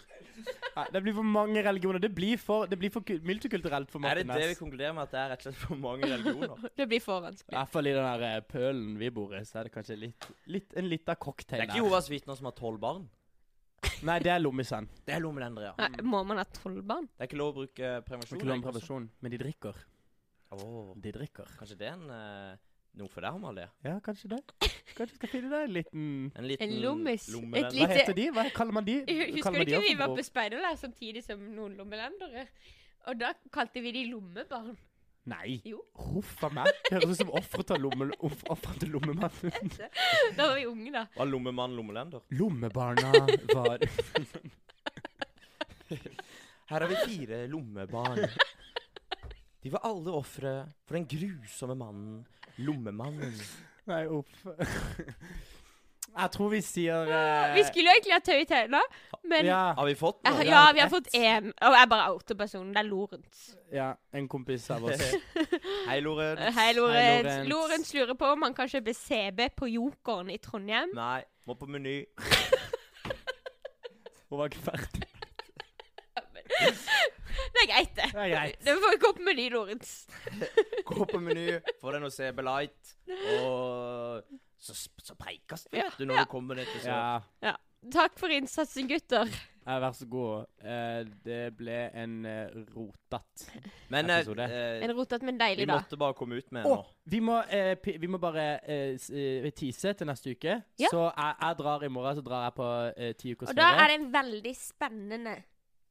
S1: Nei, det blir for mange religioner. Det blir for, det blir for kul- multikulturelt for
S4: Er det
S1: Martin
S4: det vi
S1: Næss.
S4: konkluderer med, at det er rett og slett for mange religioner?
S3: Det blir for vanskelig.
S1: I hvert fall i den der eh, pølen vi bor i, så er det kanskje litt, litt, en liten
S4: Det
S1: cocktail
S4: er ikke Jehovas vitner som har tolv barn.
S1: Nei, det er lommisen.
S4: Det er lommelendere, ja.
S3: Nei, må man ha tolv barn?
S4: Det er ikke lov å bruke
S1: Det er
S4: prevensjon.
S1: Ikke lov om
S4: ikke sant?
S1: prevensjon, men de drikker.
S4: Åh,
S1: De drikker.
S4: kanskje det er en eh, noe for deg, Amalie?
S1: Ja, kanskje det. Kanskje vi skal finne deg en liten
S4: En liten
S3: En lommis.
S4: lomme-
S3: Et
S1: Hva
S3: lite-
S1: heter de? Hva kaller man de?
S3: eh, Husker
S1: Kaller
S3: du
S1: man de
S3: ikke
S1: også
S3: vi
S1: for
S3: var
S1: bror?
S3: på speiderleir samtidig som noen lommelendere? Og da kalte vi de lommebarn.
S1: Nei.
S3: Jo.
S1: Huff a meg. Det Høres ut som offeret til lomme, off- offeret til lommemannen.
S3: Da var vi unge, da.
S4: Var lommemann lommelender?
S1: Lommebarna var
S4: Her har vi fire lommebarn. De var alle ofre for den grusomme mannen, lommemannen.
S1: Nei, uff. Jeg tror vi sier eh,
S3: Vi skulle jo egentlig ha tau i tøyla, men ja.
S1: ja,
S4: Har vi fått noe?
S3: ja, vi har fått én. Og jeg bare outer personen. Det er Lorentz.
S1: ja, en kompis av oss.
S4: Hei, Loren.
S3: Eh, Hei,
S1: Hei,
S3: Lorentz.
S1: Lorentz.
S3: Lorentz lurer på om han kan kjøpe CB på Jokeren i Trondheim.
S4: Nei, må på Meny.
S1: Hun var ikke ferdig.
S3: Det er greit, det.
S1: Det er greit.
S3: Det får gå på Meny, Lorentz.
S4: Gå på Meny, få deg noe CB Light, og så, sp- så preikes det, vet du, når
S3: Ja.
S4: du kommer ned til så.
S1: Ja,
S3: Takk for innsatsen, gutter.
S1: eh, vær så god. Eh, det ble en eh, rotete
S4: Men eh,
S1: Episode.
S4: eh,
S3: En rotete, men
S4: vi
S3: deilig, da.
S4: måtte bare komme ut med
S1: Å,
S4: en nå.
S1: vi, må, eh, pi- vi må bare eh, s- eh, tease til neste uke.
S3: Ja.
S1: Så jeg, jeg drar i morgen, så drar jeg på eh, ti ukers
S3: Og da er
S1: ferie.
S3: det en veldig spennende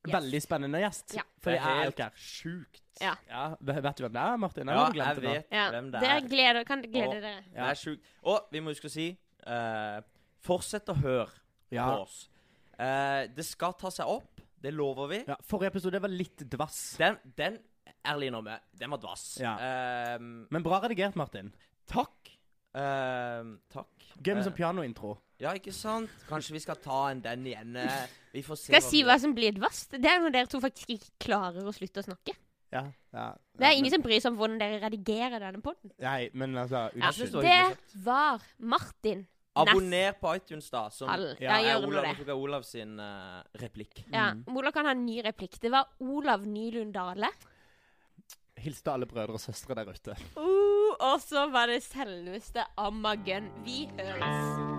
S3: gjest.
S1: Veldig spennende gjest.
S3: Ja.
S1: Fordi
S4: Det er
S1: jeg er jo
S4: helt
S1: ikke her.
S4: Sjukt.
S3: Ja.
S1: Ja, v- vet du hvem det er, Martin?
S4: Ja,
S1: har du glemt
S4: jeg
S1: det nå?
S4: vet
S3: Ja,
S4: hvem det
S3: dere
S4: er.
S3: gleder, kan glede
S4: Og-
S3: dere.
S1: Ja.
S4: Det er sjukt. Og vi må huske å si, eh, fortsett å høre.
S1: Ja.
S4: på oss. Eh, det skal ta seg opp, det lover vi.
S1: ja. Forrige episode var litt dvass.
S4: Den, den ærlig innrømme, den var dvass.
S1: Ja.
S4: Ehm,
S1: Men bra redigert, Martin.
S4: takk. Ehm, takk.
S1: Gøy med
S4: Eh,
S1: sånn pianointro.
S4: ja, ikke sant? Kanskje vi skal ta en den igjen. eh, Vi får se.
S3: Skal jeg si
S4: vi-
S3: hva som blir dvast? Det er når dere to faktisk ikke klarer å slutte å snakke.
S1: Ja. ja.
S3: Det er
S1: Ja,
S3: ingen som bryr seg om hvordan dere redigerer denne podden.
S1: men, Nei, men altså
S3: Ja,
S1: Unnskyld.
S4: synes det var hyggelig
S3: det var Martin.
S4: Abonner på iTunes, da. Som
S3: Hall.
S1: Ja,
S3: Ja,
S4: er
S3: gjør nå
S4: Olav,
S3: det.
S4: jeg tok av Olav sin eh, replikk.
S3: Ja, Olav kan ha en ny replikk. Det var Olav Nylund Dale.
S1: Hils til alle brødre og søstre der ute.
S3: Uh, og så var det selveste Amagun. Vi høres.